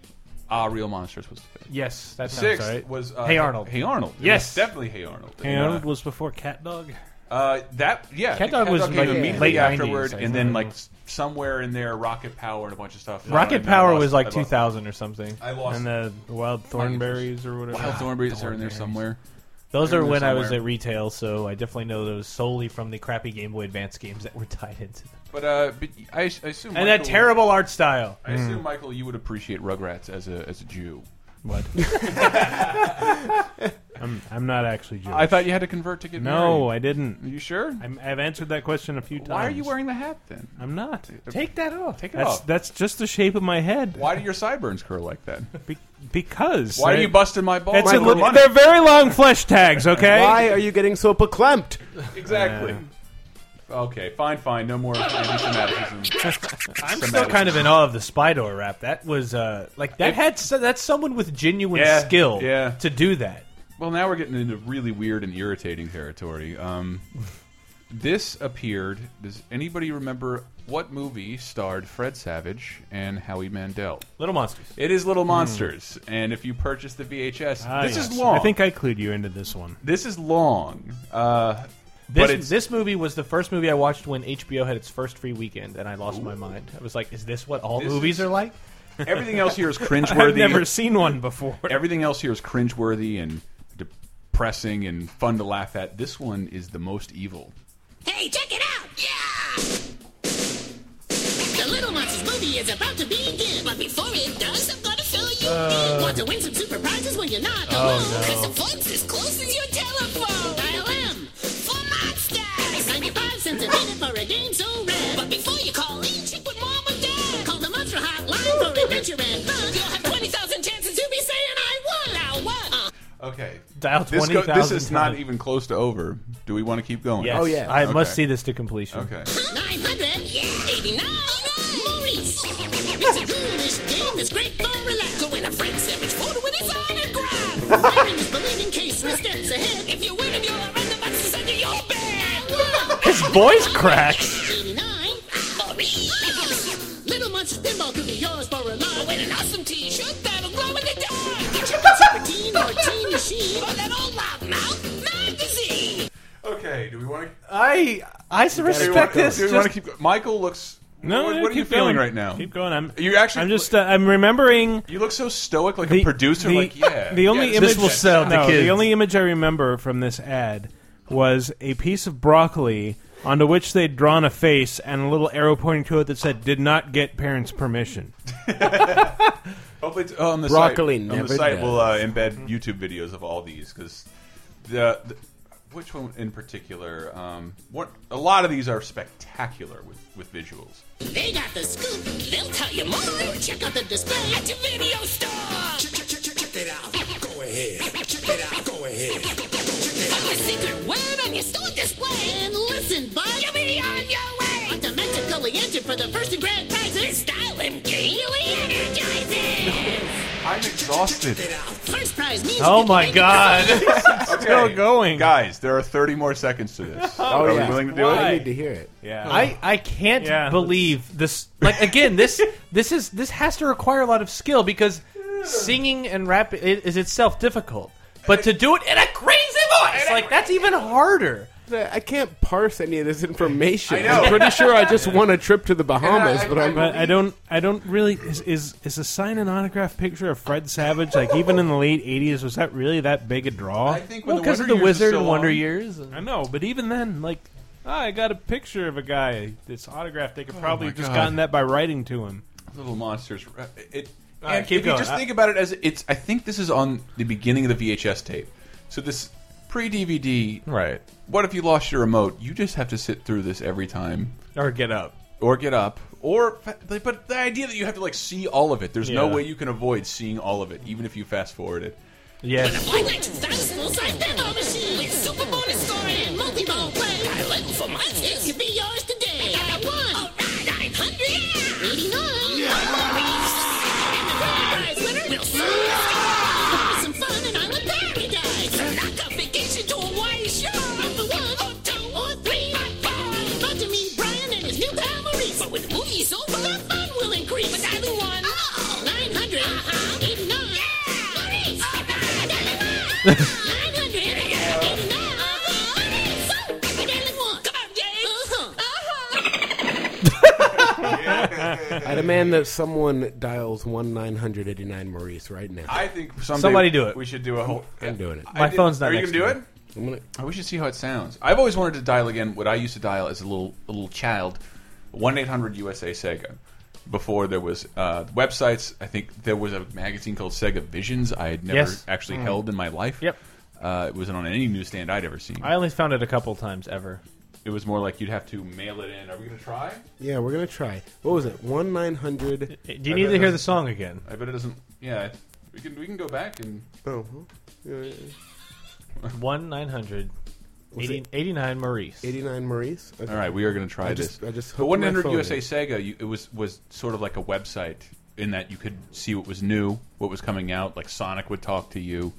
Speaker 3: Ah, Real Monsters was the fifth.
Speaker 5: Yes, that
Speaker 3: the
Speaker 5: sounds
Speaker 3: sixth
Speaker 5: right.
Speaker 3: was uh,
Speaker 5: Hey Arnold.
Speaker 3: Hey Arnold. It was
Speaker 5: Yes.
Speaker 3: definitely Hey Arnold.
Speaker 4: Hey
Speaker 3: And, uh,
Speaker 4: Arnold was before Cat Dog.
Speaker 3: Uh, that yeah,
Speaker 4: Cat Dog was,
Speaker 3: came
Speaker 4: like,
Speaker 3: immediately
Speaker 4: late 90s,
Speaker 3: afterward,
Speaker 4: I
Speaker 3: and then
Speaker 4: think.
Speaker 3: like s- somewhere in there, Rocket Power and a bunch of stuff.
Speaker 5: Rocket
Speaker 3: And I
Speaker 5: Power
Speaker 3: lost-
Speaker 5: was like
Speaker 3: I lost-
Speaker 5: 2000 or something.
Speaker 3: I lost.
Speaker 4: And the, the Wild Thornberries or whatever.
Speaker 3: Wild Thornberries are in there somewhere.
Speaker 5: Those
Speaker 3: They're
Speaker 5: are
Speaker 3: in there
Speaker 5: when I was
Speaker 3: somewhere.
Speaker 5: at retail, so I definitely know those solely from the crappy Game Boy Advance games that were tied into them.
Speaker 3: But uh, but I, I assume
Speaker 5: And that
Speaker 3: Michael-
Speaker 5: terrible art style.
Speaker 3: I assume Michael, you would appreciate Rugrats as a as a Jew.
Speaker 4: What? I'm, I'm not actually Jewish.
Speaker 3: I thought you had to convert to get
Speaker 4: No,
Speaker 3: married.
Speaker 4: I didn't. Are
Speaker 3: you sure?
Speaker 4: I'm, I've answered that question a few times.
Speaker 3: Why are you wearing the hat then?
Speaker 4: I'm not.
Speaker 5: Take that off.
Speaker 3: Take it
Speaker 4: That's
Speaker 3: off.
Speaker 4: that's just the shape of my head.
Speaker 3: Why do your sideburns curl like that?
Speaker 4: Be- because
Speaker 3: Why are you busting my balls?
Speaker 4: It's a
Speaker 3: Michael,
Speaker 4: little-
Speaker 3: money.
Speaker 4: they're very long flesh tags. Okay.
Speaker 6: Why are you getting so beclamped?
Speaker 3: Exactly. Okay, fine, fine. No more anti-Semitism.
Speaker 5: I'm still kind of in awe of the Spydor rap. That was uh, like that
Speaker 3: It-
Speaker 5: had so, that's someone with genuine
Speaker 3: Yeah,
Speaker 5: skill
Speaker 3: yeah.
Speaker 5: to do that.
Speaker 3: Well, now we're getting into really weird and irritating territory. Um, this appeared. Does anybody remember what movie starred Fred Savage and Howie Mandel?
Speaker 5: Little Monsters.
Speaker 3: It is Little Monsters, and if you purchase the VHS,
Speaker 4: Hmm. Ah,
Speaker 3: this
Speaker 4: yes.
Speaker 3: is long.
Speaker 4: I think I clued you into this one.
Speaker 3: this is long. Uh, but
Speaker 5: This
Speaker 3: it's
Speaker 5: this movie was the first movie I watched when HBO had its first free weekend, and I lost my mind. I was like, "Is this what all
Speaker 3: This
Speaker 5: movies
Speaker 3: is-
Speaker 5: are like?"
Speaker 3: everything else here is cringeworthy.
Speaker 4: I've never seen one before.
Speaker 3: Everything else here is cringeworthy and depressing and fun to laugh at. This one is the most evil.
Speaker 19: Hey, check it out! Yeah! The Little Monsters movie is about to begin, but before it does, I'm gonna fill you
Speaker 5: Uh.
Speaker 19: in. Want to win some super prizes when you're not
Speaker 5: Oh,
Speaker 19: alone?
Speaker 5: no.
Speaker 19: Cause the fun's as close as your telephone. Dial M for Monsters! It's 95 cents a minute for a game so rare. But before you call in, Uh-huh.
Speaker 3: Okay.
Speaker 5: Dial
Speaker 3: This go-
Speaker 5: 20,000
Speaker 3: This is not
Speaker 5: times.
Speaker 3: even close to over. Do we want to keep going?
Speaker 5: Yes. Oh, yeah. I must see this to completion.
Speaker 3: Okay.
Speaker 19: 900, 89, Maurice. It's a ghoulish game that's great for relax. So when a friend savage photo with his autograph. Wearing is believing case with steps ahead. If you win him, you'll run the boxes under your bed.
Speaker 5: His voice cracks.
Speaker 19: 89, Maurice. Little Monsters pinball could be yours for a lot. Win an awesome t-shirt that'll glow in the dark. Get your pizza team or team machine or Oh, that old loudmouth magazine.
Speaker 3: Okay. Do we want to?
Speaker 5: I I
Speaker 3: Do we
Speaker 5: respect
Speaker 3: wanna-
Speaker 5: this.
Speaker 3: Do we want to keep? go- Michael looks.
Speaker 4: No,
Speaker 3: What,
Speaker 4: no,
Speaker 3: what are you
Speaker 4: keep
Speaker 3: feeling
Speaker 4: going.
Speaker 3: right now?
Speaker 4: Keep going. I'm.
Speaker 3: You actually.
Speaker 4: I'm just. Uh, I'm remembering.
Speaker 3: You look so stoic, like
Speaker 4: the-
Speaker 3: a producer.
Speaker 4: the-
Speaker 3: like yeah.
Speaker 4: The only
Speaker 3: yeah,
Speaker 4: image
Speaker 3: will sell
Speaker 4: no, The only image I remember from this ad was a piece of broccoli onto which they'd drawn a face and a little arrow pointing to it that said "Did not get parents' permission."
Speaker 3: Hopefully, it's, oh, on the
Speaker 4: Broccoli
Speaker 3: site, on
Speaker 4: never
Speaker 3: the site,
Speaker 4: does.
Speaker 3: we'll uh,
Speaker 5: Mm-hmm.
Speaker 3: embed YouTube videos of all these because the, the which one in particular? Um, what a lot of these are spectacular with with visuals.
Speaker 19: They got the scoop. They'll tell you more. Check out the display at your video store. Check, check, check, check, check it out. Go ahead. Check it out. Go ahead. Check it out. Put your secret word on your store display. And listen, bud. You'll be on your way. But to magically enter for the first and grand prizes. It's Style and gaily energizing.
Speaker 3: I'm exhausted.
Speaker 19: First prize means
Speaker 3: Oh
Speaker 19: you
Speaker 3: my
Speaker 19: can make a
Speaker 3: god!
Speaker 19: decision.
Speaker 3: Still going, guys. There are 30 more seconds to this.
Speaker 5: Oh,
Speaker 3: are
Speaker 5: yeah.
Speaker 3: we willing to do
Speaker 5: Why?
Speaker 3: it?
Speaker 5: I need to
Speaker 6: hear it.
Speaker 4: Yeah.
Speaker 5: I, I can't
Speaker 4: Yeah, let's-
Speaker 5: believe this. Like again, this this is this has to require a lot of skill because singing and rap i- is itself difficult. But to do it in a crazy voice, like that's even harder.
Speaker 6: I can't parse any of this information.
Speaker 5: I know.
Speaker 6: am pretty sure I just won a trip to the Bahamas, but I'm.
Speaker 4: But I don't. I don't really. Is is, is a sign and autograph picture of Fred Savage like even in the late '80s? Was that really that big a draw? I
Speaker 3: think
Speaker 5: when Well, the 'cause of Wonder the Years was Wizard so and Wonder long. Years
Speaker 4: I know, but even then, like. ah, I got a picture of a guy. This autograph.
Speaker 5: Oh
Speaker 4: They could probably
Speaker 3: my
Speaker 4: just
Speaker 3: God.
Speaker 4: gotten that by writing to him.
Speaker 3: Little monsters. uh, It.
Speaker 4: All right,
Speaker 3: and
Speaker 4: keep
Speaker 3: if
Speaker 4: going.
Speaker 3: you just
Speaker 4: I-
Speaker 3: think about it as it's, I think this is on the beginning of the VHS tape. So this pre-DVD.
Speaker 5: Right.
Speaker 3: What if you lost your remote? You just have to sit through this every time,
Speaker 5: Or get up.
Speaker 3: or get up, or. But the idea that you have to like see all of it. There's no
Speaker 5: Yeah.
Speaker 3: way you can avoid seeing all of it, even if you fast forward it.
Speaker 5: Yes.
Speaker 19: Why not thousand size pinball machine with super bonus score and multi-ball play? Got a level for my kids. It could be yours today. I got one. All right, 900. Yeah. 89. And the grand prize winner will soon be some fun in Island Paradise. Knock a vacation to Hawaii shore. Number one, or two, or three, or four. About to meet Brian and his new pal Maurice. But when the movie's over, the fun will increase. But Island one. Oh. 900. Uh-huh. 89. Yeah. Oh, Maurice. All right.
Speaker 6: I demand that someone dials one nine hundred eighty nine Maurice right now.
Speaker 3: I think someday
Speaker 5: Somebody do it.
Speaker 3: We should do a whole.
Speaker 6: I'm doing it.
Speaker 3: I
Speaker 5: My
Speaker 3: did-
Speaker 5: phone's not
Speaker 3: Are you
Speaker 5: next
Speaker 3: gonna do
Speaker 5: to
Speaker 3: it?
Speaker 6: I'm gonna,
Speaker 3: Oh, we should see how it sounds. I've always wanted to dial again what I used to dial as a little a little child, one eight hundred USA Sega. Before there was uh, websites, I think there was a magazine called Sega Visions. I had never
Speaker 5: Yes.
Speaker 3: actually
Speaker 5: Mm.
Speaker 3: held in my life.
Speaker 5: Yep.
Speaker 3: uh, it wasn't on any newsstand I'd ever seen.
Speaker 5: I only found it a couple times ever.
Speaker 3: It was more like you'd have to mail it in. Are we gonna try?
Speaker 6: yeah, we're gonna try. What was it? One nine hundred.
Speaker 5: Do you need to hear the song again?
Speaker 3: I bet it doesn't. Yeah, we can we can go back and
Speaker 6: Oh,
Speaker 5: One 900
Speaker 6: Was it-
Speaker 5: 89 Maurice.
Speaker 6: eighty nine Maurice. Okay.
Speaker 3: All right, we are going to try
Speaker 6: I
Speaker 3: this.
Speaker 6: just- I just
Speaker 3: but
Speaker 6: hooked my
Speaker 3: 100
Speaker 6: phone
Speaker 3: USA
Speaker 6: in.
Speaker 3: Sega, you, it was was sort of like a website in that you could see what was new, what was coming out. Like Sonic would talk to you,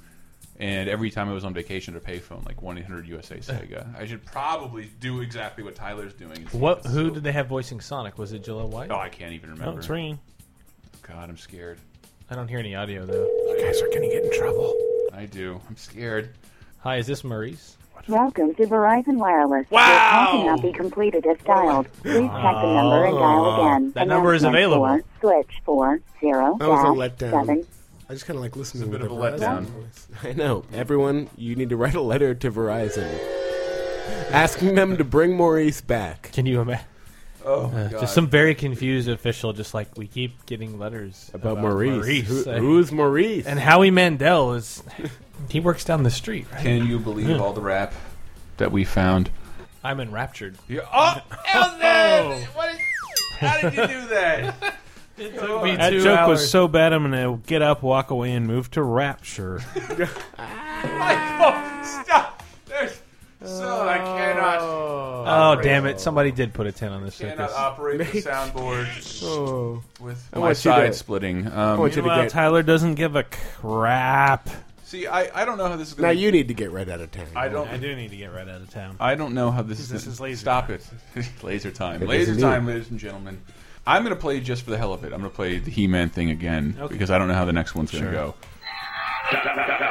Speaker 3: and every time I was on vacation at a payphone, like 100 USA Sega. I should probably do exactly what Tyler's doing. and see
Speaker 5: What?
Speaker 3: if it's
Speaker 5: Who
Speaker 3: still-
Speaker 5: did they have voicing Sonic? Was it Jill White?
Speaker 3: Oh, I can't even remember.
Speaker 5: Oh, it's ringing.
Speaker 3: God, I'm scared.
Speaker 5: I don't hear any audio though. You guys are gonna get in trouble.
Speaker 3: I do. I'm scared.
Speaker 5: Hi, is this Maurice?
Speaker 2: Welcome to Verizon Wireless.
Speaker 5: Wow!
Speaker 2: Your call cannot be completed if dialed. Please check the number and dial
Speaker 12: Uh,
Speaker 2: again.
Speaker 5: Ah. That number is
Speaker 2: Announcement
Speaker 5: available.
Speaker 2: Four, switch four zero
Speaker 6: That was a
Speaker 2: dash
Speaker 6: letdown.
Speaker 2: seven.
Speaker 6: I just kind of like listening.
Speaker 3: It's a
Speaker 6: to
Speaker 3: bit of a
Speaker 6: the Verizon
Speaker 3: letdown.
Speaker 6: voice. I know. Everyone, you need to write a letter to Verizon, asking them to bring Maurice back.
Speaker 5: Can you imagine?
Speaker 3: Oh,
Speaker 5: Uh,
Speaker 6: God.
Speaker 5: just some very confused official, just like we keep getting letters
Speaker 6: About Maurice. Who-
Speaker 3: eh?
Speaker 5: I-
Speaker 6: who's Maurice?
Speaker 5: And Howie Mandel is. He works down the street. Right?
Speaker 3: Can you believe all the rap that we found?
Speaker 5: I'm enraptured.
Speaker 3: Yeah. Oh,
Speaker 5: Oh.
Speaker 3: Elton! What is, how did you do that?
Speaker 5: it took me
Speaker 4: That
Speaker 5: two
Speaker 4: joke
Speaker 5: hours.
Speaker 4: was so bad, I'm gonna get up, walk away, and move to Rapture.
Speaker 3: Stop! There's so I cannot
Speaker 5: Oh, damn it! Somebody did put a ten on this.
Speaker 3: cannot
Speaker 5: circus.
Speaker 3: operate the soundboard with
Speaker 5: I
Speaker 3: my
Speaker 5: want you to-
Speaker 3: side splitting. Um,
Speaker 4: Meanwhile, Tyler doesn't give a crap.
Speaker 3: See, I, I don't know how this is going
Speaker 4: Now you
Speaker 6: need to get right out of town.
Speaker 3: I don't.
Speaker 4: I do need to get right out of town.
Speaker 3: I don't know how this is.
Speaker 4: This is laser
Speaker 3: Stop it. laser time.
Speaker 4: It
Speaker 3: laser
Speaker 4: is
Speaker 3: time,
Speaker 4: indeed.
Speaker 3: ladies and gentlemen. I'm going to play just for the hell of it. I'm going to play the He-Man thing again
Speaker 21: Okay.
Speaker 3: because I don't know how the next one's going
Speaker 21: Sure.
Speaker 3: to go.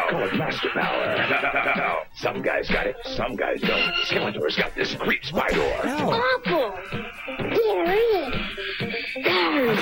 Speaker 21: Call it master power. Some guys got it, some guys don't. Skeletor's got this creep Spydor.
Speaker 11: Awful. There is. There.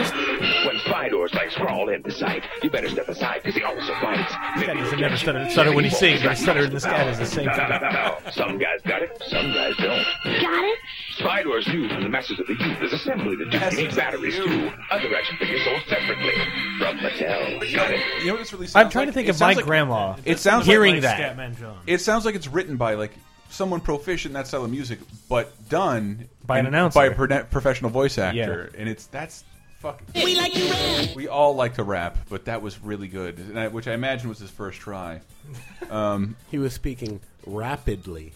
Speaker 21: When Spydor's legs crawl into sight, you better step aside because he also bites.
Speaker 5: That is,
Speaker 21: he'll
Speaker 5: it never
Speaker 21: get you.
Speaker 5: stutter- stutter when he
Speaker 21: Maybe
Speaker 5: sings,
Speaker 21: won't.
Speaker 5: but stutter in the sky is the same
Speaker 21: No,
Speaker 5: thing.
Speaker 21: no, no, no. Some guys got it, some guys don't.
Speaker 11: Got it?
Speaker 21: Spydor's new from the Masters of the Youth is assembly the Duke. You need batteries too. Other action figures sold separately from Mattel. Got it.
Speaker 3: You know what this really
Speaker 5: I'm
Speaker 3: sounds like?
Speaker 5: trying to think
Speaker 3: It
Speaker 5: of my
Speaker 3: sounds like-
Speaker 5: grandma.
Speaker 3: It sounds like-
Speaker 5: hearing
Speaker 3: like
Speaker 5: that.
Speaker 3: Scatman It sounds like it's written by like someone proficient in that style of music, but done
Speaker 5: By an
Speaker 3: in-
Speaker 5: announcer.
Speaker 3: by a pro- professional voice actor, and it's that's fucking.
Speaker 19: We like to rap.
Speaker 3: We all like to rap, but that was really good, and I, which I imagine was his first try. Um,
Speaker 6: he was speaking rapidly.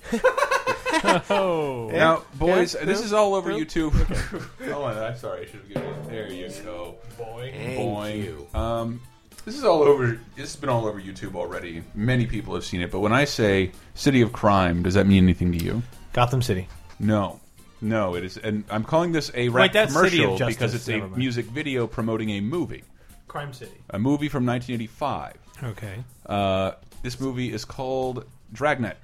Speaker 3: Now, boys,
Speaker 6: Yeah,
Speaker 3: this
Speaker 6: yeah.
Speaker 3: is all over
Speaker 6: Yeah.
Speaker 3: YouTube. oh, I'm sorry. I should have given you. There you go. Boy.
Speaker 6: Thank
Speaker 3: Boy. Um, this is all over. This has been all over YouTube already. Many people have seen it. But when I say City of Crime, does that mean anything to you?
Speaker 5: Gotham City.
Speaker 3: No. No, it is. And I'm calling this a rap
Speaker 5: Wait, that's City of
Speaker 3: commercial
Speaker 5: Justice.
Speaker 3: because it's a
Speaker 5: Never mind.
Speaker 3: music video promoting a movie.
Speaker 5: Crime City.
Speaker 3: A movie from 1985.
Speaker 4: Okay.
Speaker 3: Uh, this movie is called Dragnet.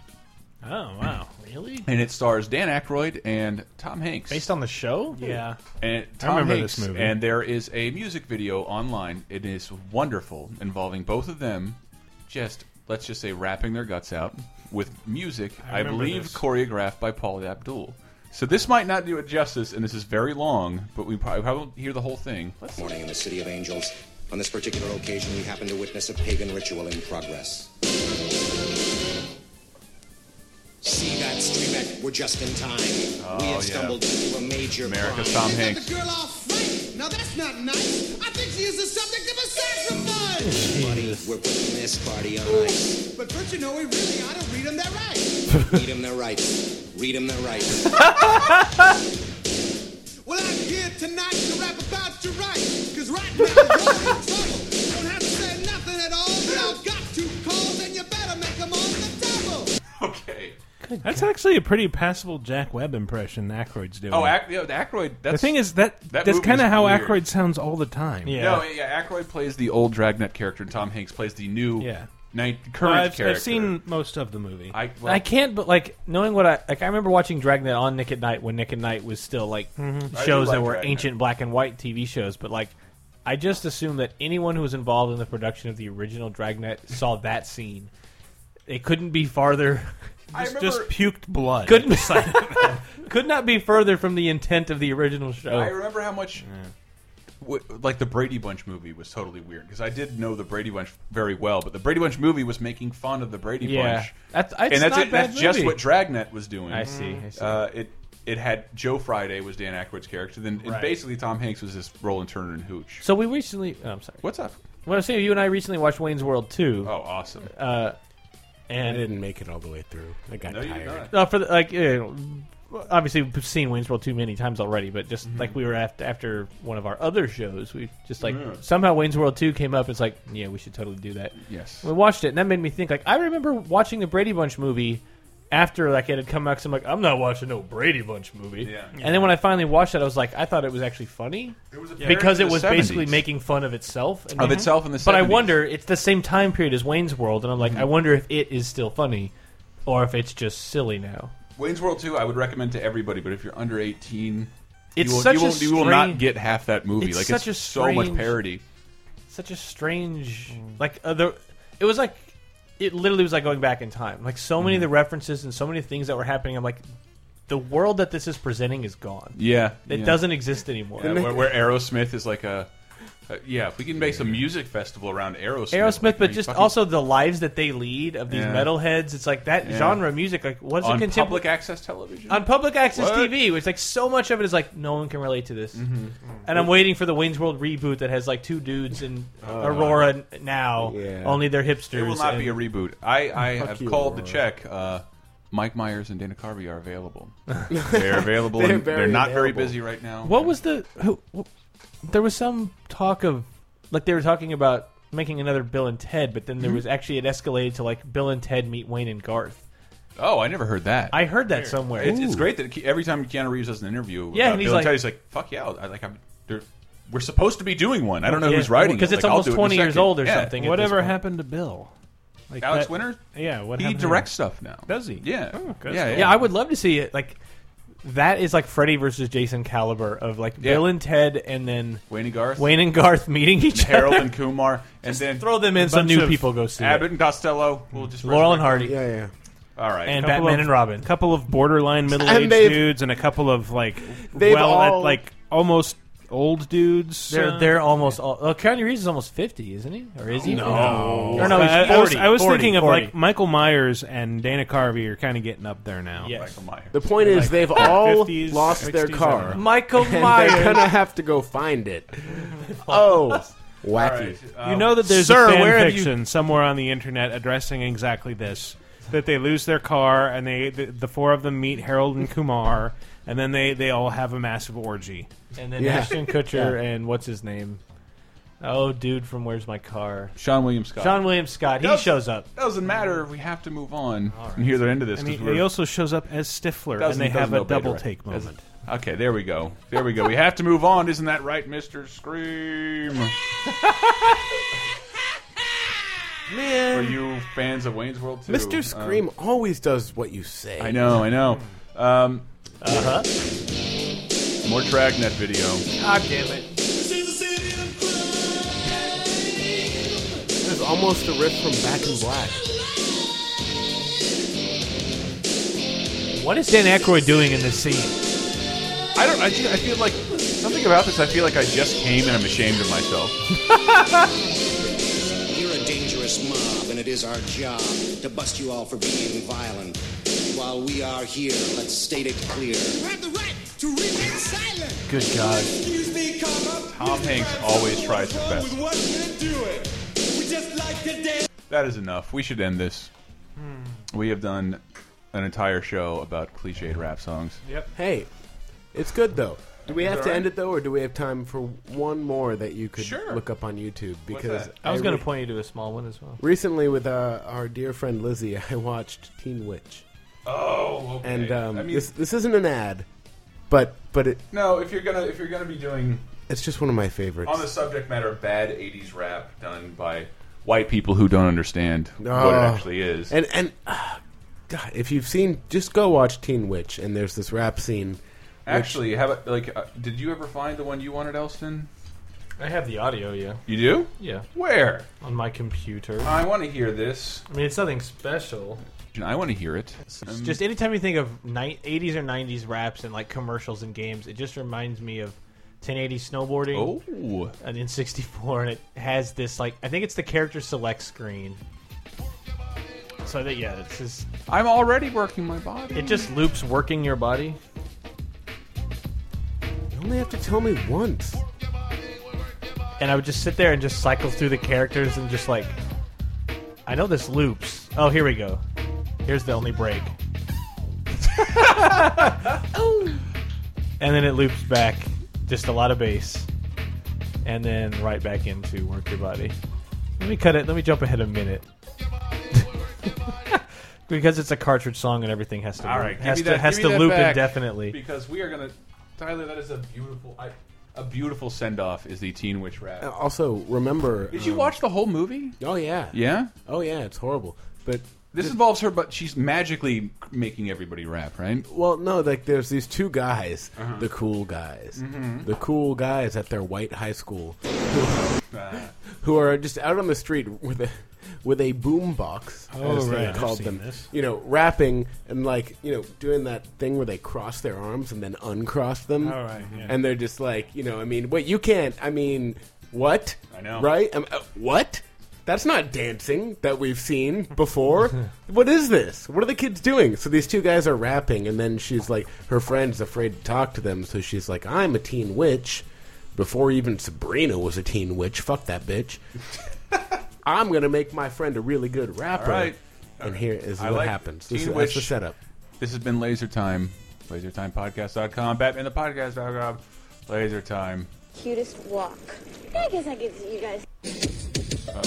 Speaker 5: Oh wow, really?
Speaker 3: And it stars Dan Aykroyd and Tom Hanks.
Speaker 5: Based on the show?
Speaker 4: Yeah.
Speaker 3: And
Speaker 5: I
Speaker 3: Tom
Speaker 5: remember
Speaker 3: Hanks,
Speaker 5: this movie.
Speaker 3: And there is a music video online. It is wonderful, involving both of them, just let's just say rapping their guts out with music. I,
Speaker 5: I remember
Speaker 3: believe
Speaker 5: this.
Speaker 3: choreographed by Paul Abdul. So this might not do it justice, and this is very long, but we probably, probably won't hear the whole thing.
Speaker 1: Morning in the City of Angels. On this particular occasion, we happen to witness a pagan ritual in progress. See that, Streamek? We're just in time. we
Speaker 3: Oh, yeah.
Speaker 1: have stumbled into a major
Speaker 3: America's
Speaker 1: crime.
Speaker 3: Tom Hanks.
Speaker 18: girl off right. Now that's not nice. I think she is the subject of a sacrifice.
Speaker 1: Buddy, we're putting this party on ice.
Speaker 18: But don't you know we really ought to read them that right.
Speaker 1: Read 'em their rights. Read 'em their rights.
Speaker 18: Well, I'm here tonight to rap about your rights. Cause right now you're in trouble. Don't have to say nothing at all. Y'all got two calls and you better make them on the double.
Speaker 3: Okay.
Speaker 4: That's actually a pretty passable Jack Webb impression Aykroyd's doing.
Speaker 3: Oh, Ack, yeah, Aykroyd. That's,
Speaker 4: the thing is that,
Speaker 3: that
Speaker 4: that's
Speaker 3: movie
Speaker 4: kind of
Speaker 3: is
Speaker 4: how
Speaker 3: weird.
Speaker 4: Aykroyd sounds all the time.
Speaker 3: No, yeah, Aykroyd plays the old Dragnet character, and Tom Hanks plays the new,
Speaker 4: Yeah.
Speaker 3: night, current
Speaker 4: Well, I've,
Speaker 3: character.
Speaker 4: I've seen most of the movie.
Speaker 3: I,
Speaker 5: I can't, but like knowing what I like, I remember watching Dragnet on Nick at Night when Nick at Night was still like
Speaker 4: Mhm.
Speaker 3: Mm-hmm. I do
Speaker 5: shows
Speaker 3: like
Speaker 5: that were
Speaker 3: Dragnet.
Speaker 5: ancient black and white TV shows. But like, I just assumed that anyone who was involved in the production of the original Dragnet saw that scene. It couldn't be farther.
Speaker 4: I Just- just remember- puked blood.
Speaker 5: Couldn't
Speaker 4: Beside
Speaker 5: could not be further from the intent of the original show.
Speaker 3: I remember how much, w like the Brady Bunch movie was totally weird because I did know the Brady Bunch very well, but the Brady Bunch movie was making fun of the Brady
Speaker 5: Yeah.
Speaker 3: Bunch,
Speaker 5: That's- it's
Speaker 3: and that's
Speaker 5: not a
Speaker 3: it.
Speaker 5: bad
Speaker 3: That's just
Speaker 5: movie.
Speaker 3: what Dragnet was doing.
Speaker 5: I see, I see.
Speaker 3: Uh, it it had Joe Friday was Dan Aykroyd's character, then and
Speaker 5: Right.
Speaker 3: basically Tom Hanks was this Roland Turner and Hooch.
Speaker 5: So we recently. Oh, I'm sorry.
Speaker 3: What's up?
Speaker 5: Well, I'm saying you and I recently watched Wayne's World 2.
Speaker 3: Oh, awesome.
Speaker 5: Uh,
Speaker 6: I
Speaker 5: and
Speaker 6: didn't make it all the way through. I got
Speaker 3: No, you did not.
Speaker 6: tired.
Speaker 5: No, for the, like you know, obviously we've seen Wayne's World too many times already, but just
Speaker 3: Mm-hmm.
Speaker 5: like we were after after one of our other shows, we just like
Speaker 3: Yeah.
Speaker 5: somehow Wayne's World two came up. It's like yeah, we should totally do that.
Speaker 3: Yes.
Speaker 5: we watched it, and that made me think. Like I remember watching the Brady Bunch movie. After like it had come out, 'cause I'm like I'm not watching no Brady Bunch movie.
Speaker 3: Yeah.
Speaker 5: And then when I finally watched it, I was like, I thought it was actually funny
Speaker 3: It was a parody
Speaker 5: because
Speaker 3: of
Speaker 5: it
Speaker 3: the
Speaker 5: was basically
Speaker 3: 70s.
Speaker 5: making fun of itself and
Speaker 3: Of itself in the Mm-hmm.
Speaker 5: But I
Speaker 3: 70s.
Speaker 5: wonder it's the same time period as Wayne's World, and I'm like, I wonder if it is still funny or if it's just silly now.
Speaker 3: Wayne's World 2, I would recommend to everybody, but if you're under 18,
Speaker 5: It's
Speaker 3: you, will,
Speaker 5: such
Speaker 3: you,
Speaker 5: a
Speaker 3: will, you will not
Speaker 5: strange-
Speaker 3: get half that movie.
Speaker 5: It's
Speaker 3: like
Speaker 5: such
Speaker 3: it's
Speaker 5: a
Speaker 3: so much
Speaker 5: strange-
Speaker 3: parody.
Speaker 5: Such a strange,
Speaker 3: Mm.
Speaker 5: like uh, the, it was like it literally was like going back in time. Like so many of the
Speaker 3: Mm-hmm.
Speaker 5: references and so many things that were happening. I'm like, the world that this is presenting is gone.
Speaker 3: Yeah,
Speaker 5: it
Speaker 3: yeah. Uh,
Speaker 5: doesn't exist anymore.
Speaker 3: Yeah, where, where Aerosmith is like a Uh, yeah, if we can make some music festival around Aerosmith.
Speaker 5: Aerosmith,
Speaker 3: like, I
Speaker 5: but
Speaker 3: mean,
Speaker 5: just
Speaker 3: fucking-
Speaker 5: also the lives that they lead of these
Speaker 3: Yeah.
Speaker 5: metalheads. It's like that
Speaker 3: Yeah.
Speaker 5: genre of music. Like what's
Speaker 3: On
Speaker 5: it contem-
Speaker 3: public access television?
Speaker 5: on public access
Speaker 3: What?
Speaker 5: TV? Which like so much of it is like no one can relate to this.
Speaker 4: Mm-hmm.
Speaker 5: And I'm waiting for the Wayne's World reboot that has like two dudes in Aurora n- now. Only they're hipsters.
Speaker 3: It Oh. will not
Speaker 5: and-
Speaker 3: be a reboot. I, I
Speaker 5: Fuck
Speaker 3: have
Speaker 5: you,
Speaker 3: called to
Speaker 5: Aurora.
Speaker 3: check. Uh, Mike Myers and Dana Carvey are available. they're available.
Speaker 5: They're
Speaker 3: and
Speaker 5: very
Speaker 3: they're not very
Speaker 5: available.
Speaker 3: busy right now.
Speaker 5: What was the? Who, wh- there was some talk of like they were talking about making another Bill and Ted, but then there
Speaker 4: Hmm?
Speaker 3: Mhm.
Speaker 5: was actually it escalated to like Bill and Ted meet Wayne and Garth.
Speaker 3: Oh, I never heard that.
Speaker 5: I heard that somewhere.
Speaker 3: It's, it's great that Ke- every time Keanu Reeves does an interview, uh,
Speaker 5: Yeah,
Speaker 3: about
Speaker 5: and he's
Speaker 3: Bill
Speaker 5: like-
Speaker 3: Ted, he's like, "Fuck yeah!" I, like, I'm, they're- we're supposed to be doing one. I don't know
Speaker 5: Yeah.
Speaker 3: who's writing
Speaker 5: Because
Speaker 3: it.
Speaker 5: it's
Speaker 3: Like, I'll
Speaker 5: almost
Speaker 3: do it in a
Speaker 5: 20 years
Speaker 3: second.
Speaker 5: old or
Speaker 3: Yeah.
Speaker 5: something.
Speaker 4: Whatever happened to Bill? Like
Speaker 3: Alex Winter?
Speaker 4: Yeah, what
Speaker 3: He
Speaker 4: happened to
Speaker 3: directs
Speaker 4: him?
Speaker 3: stuff now.
Speaker 4: Does he?
Speaker 3: Yeah.
Speaker 4: Oh, good
Speaker 3: Yeah,
Speaker 4: stuff.
Speaker 5: Yeah, I would love to see it. Like that is like Freddy versus Jason caliber of like
Speaker 3: Yeah.
Speaker 5: Bill and Ted, and then
Speaker 3: Wayne and Garth.
Speaker 5: Wayne and Garth meeting each
Speaker 3: Harold
Speaker 5: other.
Speaker 3: and Kumar, and then
Speaker 5: throw them in,
Speaker 3: a
Speaker 5: some
Speaker 3: bunch
Speaker 5: new
Speaker 3: of
Speaker 5: people go see it.
Speaker 3: Abbott and Costello. We'll just
Speaker 5: Laurel and Hardy.
Speaker 3: resurrect them.
Speaker 6: Yeah,
Speaker 3: All right,
Speaker 5: And
Speaker 4: Couple
Speaker 5: Batman
Speaker 4: of-
Speaker 5: and Robin.
Speaker 4: Couple of borderline middle-aged
Speaker 5: And they've-
Speaker 4: dudes and a couple of like
Speaker 5: They've
Speaker 4: well,
Speaker 5: all-
Speaker 4: like almost old dudes.
Speaker 5: They're
Speaker 4: uh,
Speaker 5: they're almost all. Oh, Keanu Reeves is almost fifty, isn't he? Or is he?
Speaker 4: No,
Speaker 5: Or no, he's
Speaker 4: I-
Speaker 5: 40,
Speaker 4: I was, I was
Speaker 5: 40,
Speaker 4: thinking of
Speaker 5: 40.
Speaker 4: like Michael Myers and Dana Carvey are kind of getting up there now.
Speaker 5: Yes.
Speaker 3: Michael Myers.
Speaker 6: The point is, they've all lost their car.
Speaker 5: Michael
Speaker 6: and
Speaker 5: Myers.
Speaker 6: They're gonna have to go find it. oh, wacky!
Speaker 4: you know that there's
Speaker 5: Um, Sir,
Speaker 4: a fan
Speaker 5: where have you-
Speaker 4: fiction somewhere on the internet addressing exactly this. That they lose their car and they the, the four of them meet Harold and Kumar and then they, they all have a massive orgy.
Speaker 5: And then Ashton Kutcher and what's his name? Oh, dude from Where's My Car?
Speaker 3: Sean William Scott.
Speaker 5: Sean William Scott. He
Speaker 3: Does-
Speaker 5: shows up.
Speaker 3: Doesn't matter. We have to move on and hear the end of this.
Speaker 4: And
Speaker 3: 'cause
Speaker 4: he,
Speaker 3: we're-
Speaker 4: he also shows up as Stifler and
Speaker 3: doesn't-
Speaker 4: they have
Speaker 3: doesn't
Speaker 4: a
Speaker 3: obey
Speaker 4: double
Speaker 3: direct-
Speaker 4: take
Speaker 3: doesn't-
Speaker 4: moment.
Speaker 3: Okay, there we go. There we go. We have to move on. Isn't that right, Mister Scream?
Speaker 6: Man.
Speaker 3: For you fans of Wayne's World too,
Speaker 6: Mr. Scream
Speaker 3: um,
Speaker 6: always does what you say.
Speaker 3: I know. I know. Um, uh huh. More Dragnet video.
Speaker 5: God damn it!
Speaker 6: This is almost a riff from Back in Black.
Speaker 5: What is Dan Aykroyd doing in this scene?
Speaker 3: I don't. I, ju- I feel like something about this. I feel like I just came and I'm ashamed of myself.
Speaker 1: You're a dangerous mob, and it is our job to bust you all for being violent. While we are here, let's state it clear.
Speaker 18: You have the right to remain silent.
Speaker 3: Good God.
Speaker 18: Excuse me, Copper.
Speaker 3: Tom Hanks always tries his best.
Speaker 18: What you're doing? We just like to dance.
Speaker 3: That is enough. We should end this. We have done an entire show about cliched rap songs.
Speaker 6: Yep. Hey, it's good though. Do we
Speaker 5: Is
Speaker 6: have
Speaker 5: it
Speaker 6: to end
Speaker 5: alright?
Speaker 6: it though, or do we have time for one more that you could look up on YouTube? Because
Speaker 5: I was
Speaker 6: going
Speaker 5: going to point you to a small one as well.
Speaker 6: recently with uh, our dear friend Lizzie, I watched Teen Witch.
Speaker 3: Oh, okay.
Speaker 6: And um,
Speaker 3: I mean-
Speaker 6: this this isn't an ad, but but it
Speaker 3: No, if you're gonna if you're gonna be doing
Speaker 6: it's just one of my favorites.
Speaker 3: on the subject matter of bad '80s rap done by white people who don't understand what it
Speaker 6: Oh.
Speaker 3: actually is,
Speaker 6: And and ah, God, if you've seen, just go watch Teen Witch. And there's this rap scene. which-
Speaker 3: actually, have a, like, uh, did you ever find the one you wanted, Elston?
Speaker 5: I have the audio, yeah.
Speaker 3: You do?
Speaker 5: Yeah.
Speaker 3: Where?
Speaker 5: On my computer.
Speaker 3: I want to hear this.
Speaker 5: I mean, it's nothing special.
Speaker 3: I want to hear it. Um,
Speaker 5: Just anytime you think of ni- 80s or 90s raps and like commercials and games, it just reminds me of 1080 snowboarding.
Speaker 3: Oh.
Speaker 5: And in 64, and it has this like I think it's the character select screen. So that yeah, it's just
Speaker 3: I'm already working my body.
Speaker 5: it just loops working your body.
Speaker 6: You only have to tell me once.
Speaker 5: and I would just sit there and just cycle through the characters and just like, I know this loops. Oh, here we go. Here's the only break. And then it loops back, just a lot of bass, and then right back into work your body. Let me cut it. Let me jump ahead a minute. Because it's a cartridge song and everything has to
Speaker 3: All
Speaker 5: loop-
Speaker 3: right, give
Speaker 5: has
Speaker 3: me
Speaker 5: to
Speaker 3: that-
Speaker 5: has
Speaker 3: give
Speaker 5: to
Speaker 3: me that
Speaker 5: loop
Speaker 3: back,
Speaker 5: indefinitely.
Speaker 3: because we are gonna. Tyler, that is a beautiful, I, a beautiful send off. Is the Teen Witch rap?
Speaker 6: Uh, Also, remember.
Speaker 3: Did you
Speaker 6: um,
Speaker 3: watch the whole movie?
Speaker 6: Oh yeah.
Speaker 3: Yeah?
Speaker 6: Oh yeah. It's horrible. But
Speaker 3: This involves her, but she's magically making everybody rap, right?
Speaker 6: Well, no, like there's these two guys,
Speaker 3: Uh-huh.
Speaker 6: the cool guys,
Speaker 3: Mhm.
Speaker 6: the cool guys at their white high school, who, who are just out on the street with a with a boom box,
Speaker 4: Oh,
Speaker 6: as
Speaker 4: right.
Speaker 6: they
Speaker 4: I've
Speaker 6: called
Speaker 4: seen
Speaker 6: them.
Speaker 4: this.
Speaker 6: You know, rapping and like you know doing that thing where they cross their arms and then uncross them.
Speaker 4: Oh, right, yeah.
Speaker 6: And they're just like, you know, I mean, wait, you can't. I mean. What? I
Speaker 3: know.
Speaker 6: Right? Um, uh, what? That's not dancing that we've seen before. what is this? What are the kids doing? So these two guys are rapping, and then she's like, her friend's afraid to talk to them, so she's like, I'm a teen witch. Before even Sabrina was a teen witch, fuck that bitch. I'm going to make my friend a really good rapper.
Speaker 3: All right.
Speaker 6: And here is
Speaker 3: I
Speaker 6: what
Speaker 3: like
Speaker 6: happens.
Speaker 3: Teen
Speaker 6: This is,
Speaker 3: Witch.
Speaker 6: that's the setup.
Speaker 3: This has been Laser Time. LaserTimePodcast.com. Batman the Podcast.com. Laser Time.
Speaker 25: Cutest walk. I guess I give it to you guys.
Speaker 3: Uh,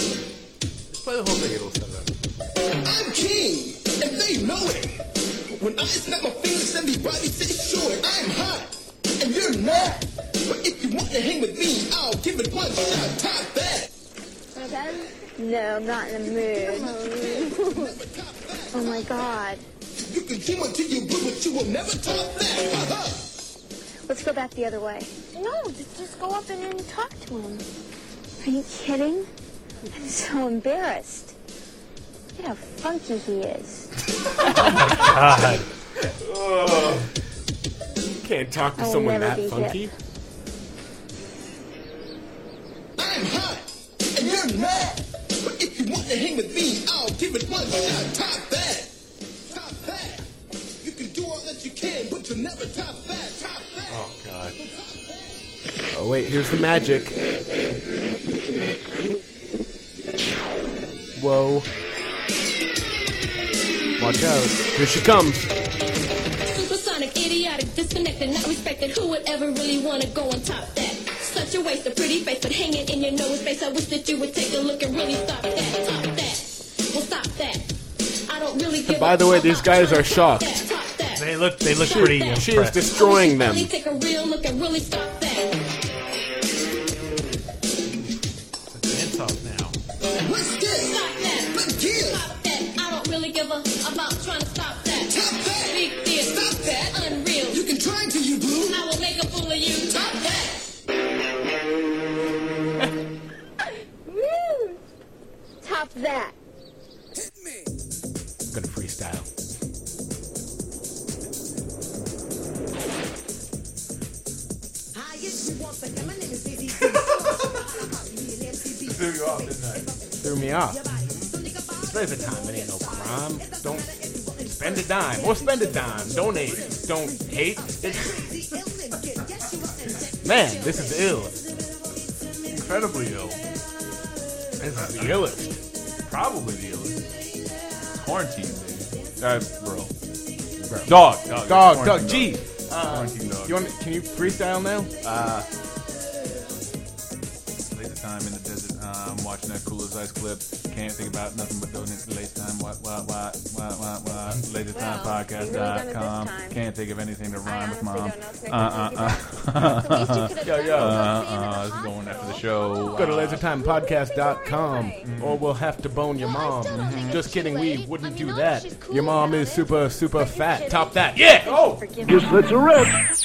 Speaker 6: Play the whole thing, it'll set up.
Speaker 18: I'm king, and they know it. When I snap my fingers, everybody says sure. I'm hot, and you're not. But if you want to hang with me, I'll give it one shot. Top that.
Speaker 25: No, I'm not in the mood. oh my god.
Speaker 18: You can dream until you blue, but you will never top that. Ha-ha.
Speaker 25: Let's go back the other way. No, just, just go up and then talk to him. Are you kidding? I'm so embarrassed. Look at how funky he is.
Speaker 6: God. You can't talk to
Speaker 25: I will
Speaker 6: someone
Speaker 25: never
Speaker 6: that
Speaker 25: be hip.
Speaker 6: funky.
Speaker 18: and you're mad. But if you want to hang with me, I'll give it one shot. Top that. Top that. You can do all that you can, but you'll never top that. Top that.
Speaker 6: Oh god. Oh wait, here's the magic. Whoa. Watch out. Here she comes.
Speaker 19: Supersonic, idiotic, disconnected, not respected. Who would ever really want to go on top that? Such a waste of pretty face, but hanging in your nose face. I wish that you would take a look and really stop that. Top that. Well, stop that. I don't really give
Speaker 6: By
Speaker 19: a
Speaker 6: the way, these guys are shocked.
Speaker 4: They look they look
Speaker 6: She-
Speaker 4: pretty
Speaker 6: She is
Speaker 4: impressed.
Speaker 6: destroying them.
Speaker 19: Really take a real look and really stop that.
Speaker 4: Dance off now.
Speaker 18: What's this?
Speaker 19: Stop that. Stop that. I don't really give a about trying to stop that.
Speaker 18: Stop that.
Speaker 19: Big deal.
Speaker 18: Stop that.
Speaker 19: Unreal.
Speaker 18: You can try till you blue.
Speaker 19: I will make a fool of you. Stop that.
Speaker 25: Woo! Top that.
Speaker 6: I'm gonna freestyle.
Speaker 26: Hi, it's me once again. My name is Izzy. Threw
Speaker 3: you off, didn't I?
Speaker 6: Threw me off. Save the time. It ain't no crime. Don't spend a dime or spend a dime. Donate. Don't hate. Man, this is ill.
Speaker 3: Incredibly ill.
Speaker 6: This is the illest.
Speaker 3: Probably the illest. Quarantine, baby. Uh, bro.
Speaker 6: Bro.
Speaker 3: Dog, dog.
Speaker 6: Dog,
Speaker 3: Quarantine
Speaker 6: dog. Gee. Uh,
Speaker 3: Quarantine dog.
Speaker 6: you want? Can you freestyle now?
Speaker 3: Uh, laser time in the desert. Uh, I'm watching that cool as ice clip. Can't think about nothing but those into laser time. What, what, what, what, what, what? LaserTimePodcast.com. Can't think of anything to rhyme with mom. Uh, uh, uh.
Speaker 6: Yo, yo.
Speaker 3: Uh, uh, this is going after the show.
Speaker 6: Go to lasertimepodcast.com or we'll have to bone your mom. Just kidding, we wouldn't do that. Your mom is super, super fat. Top that. Yeah! Oh!
Speaker 18: Just let's a rip.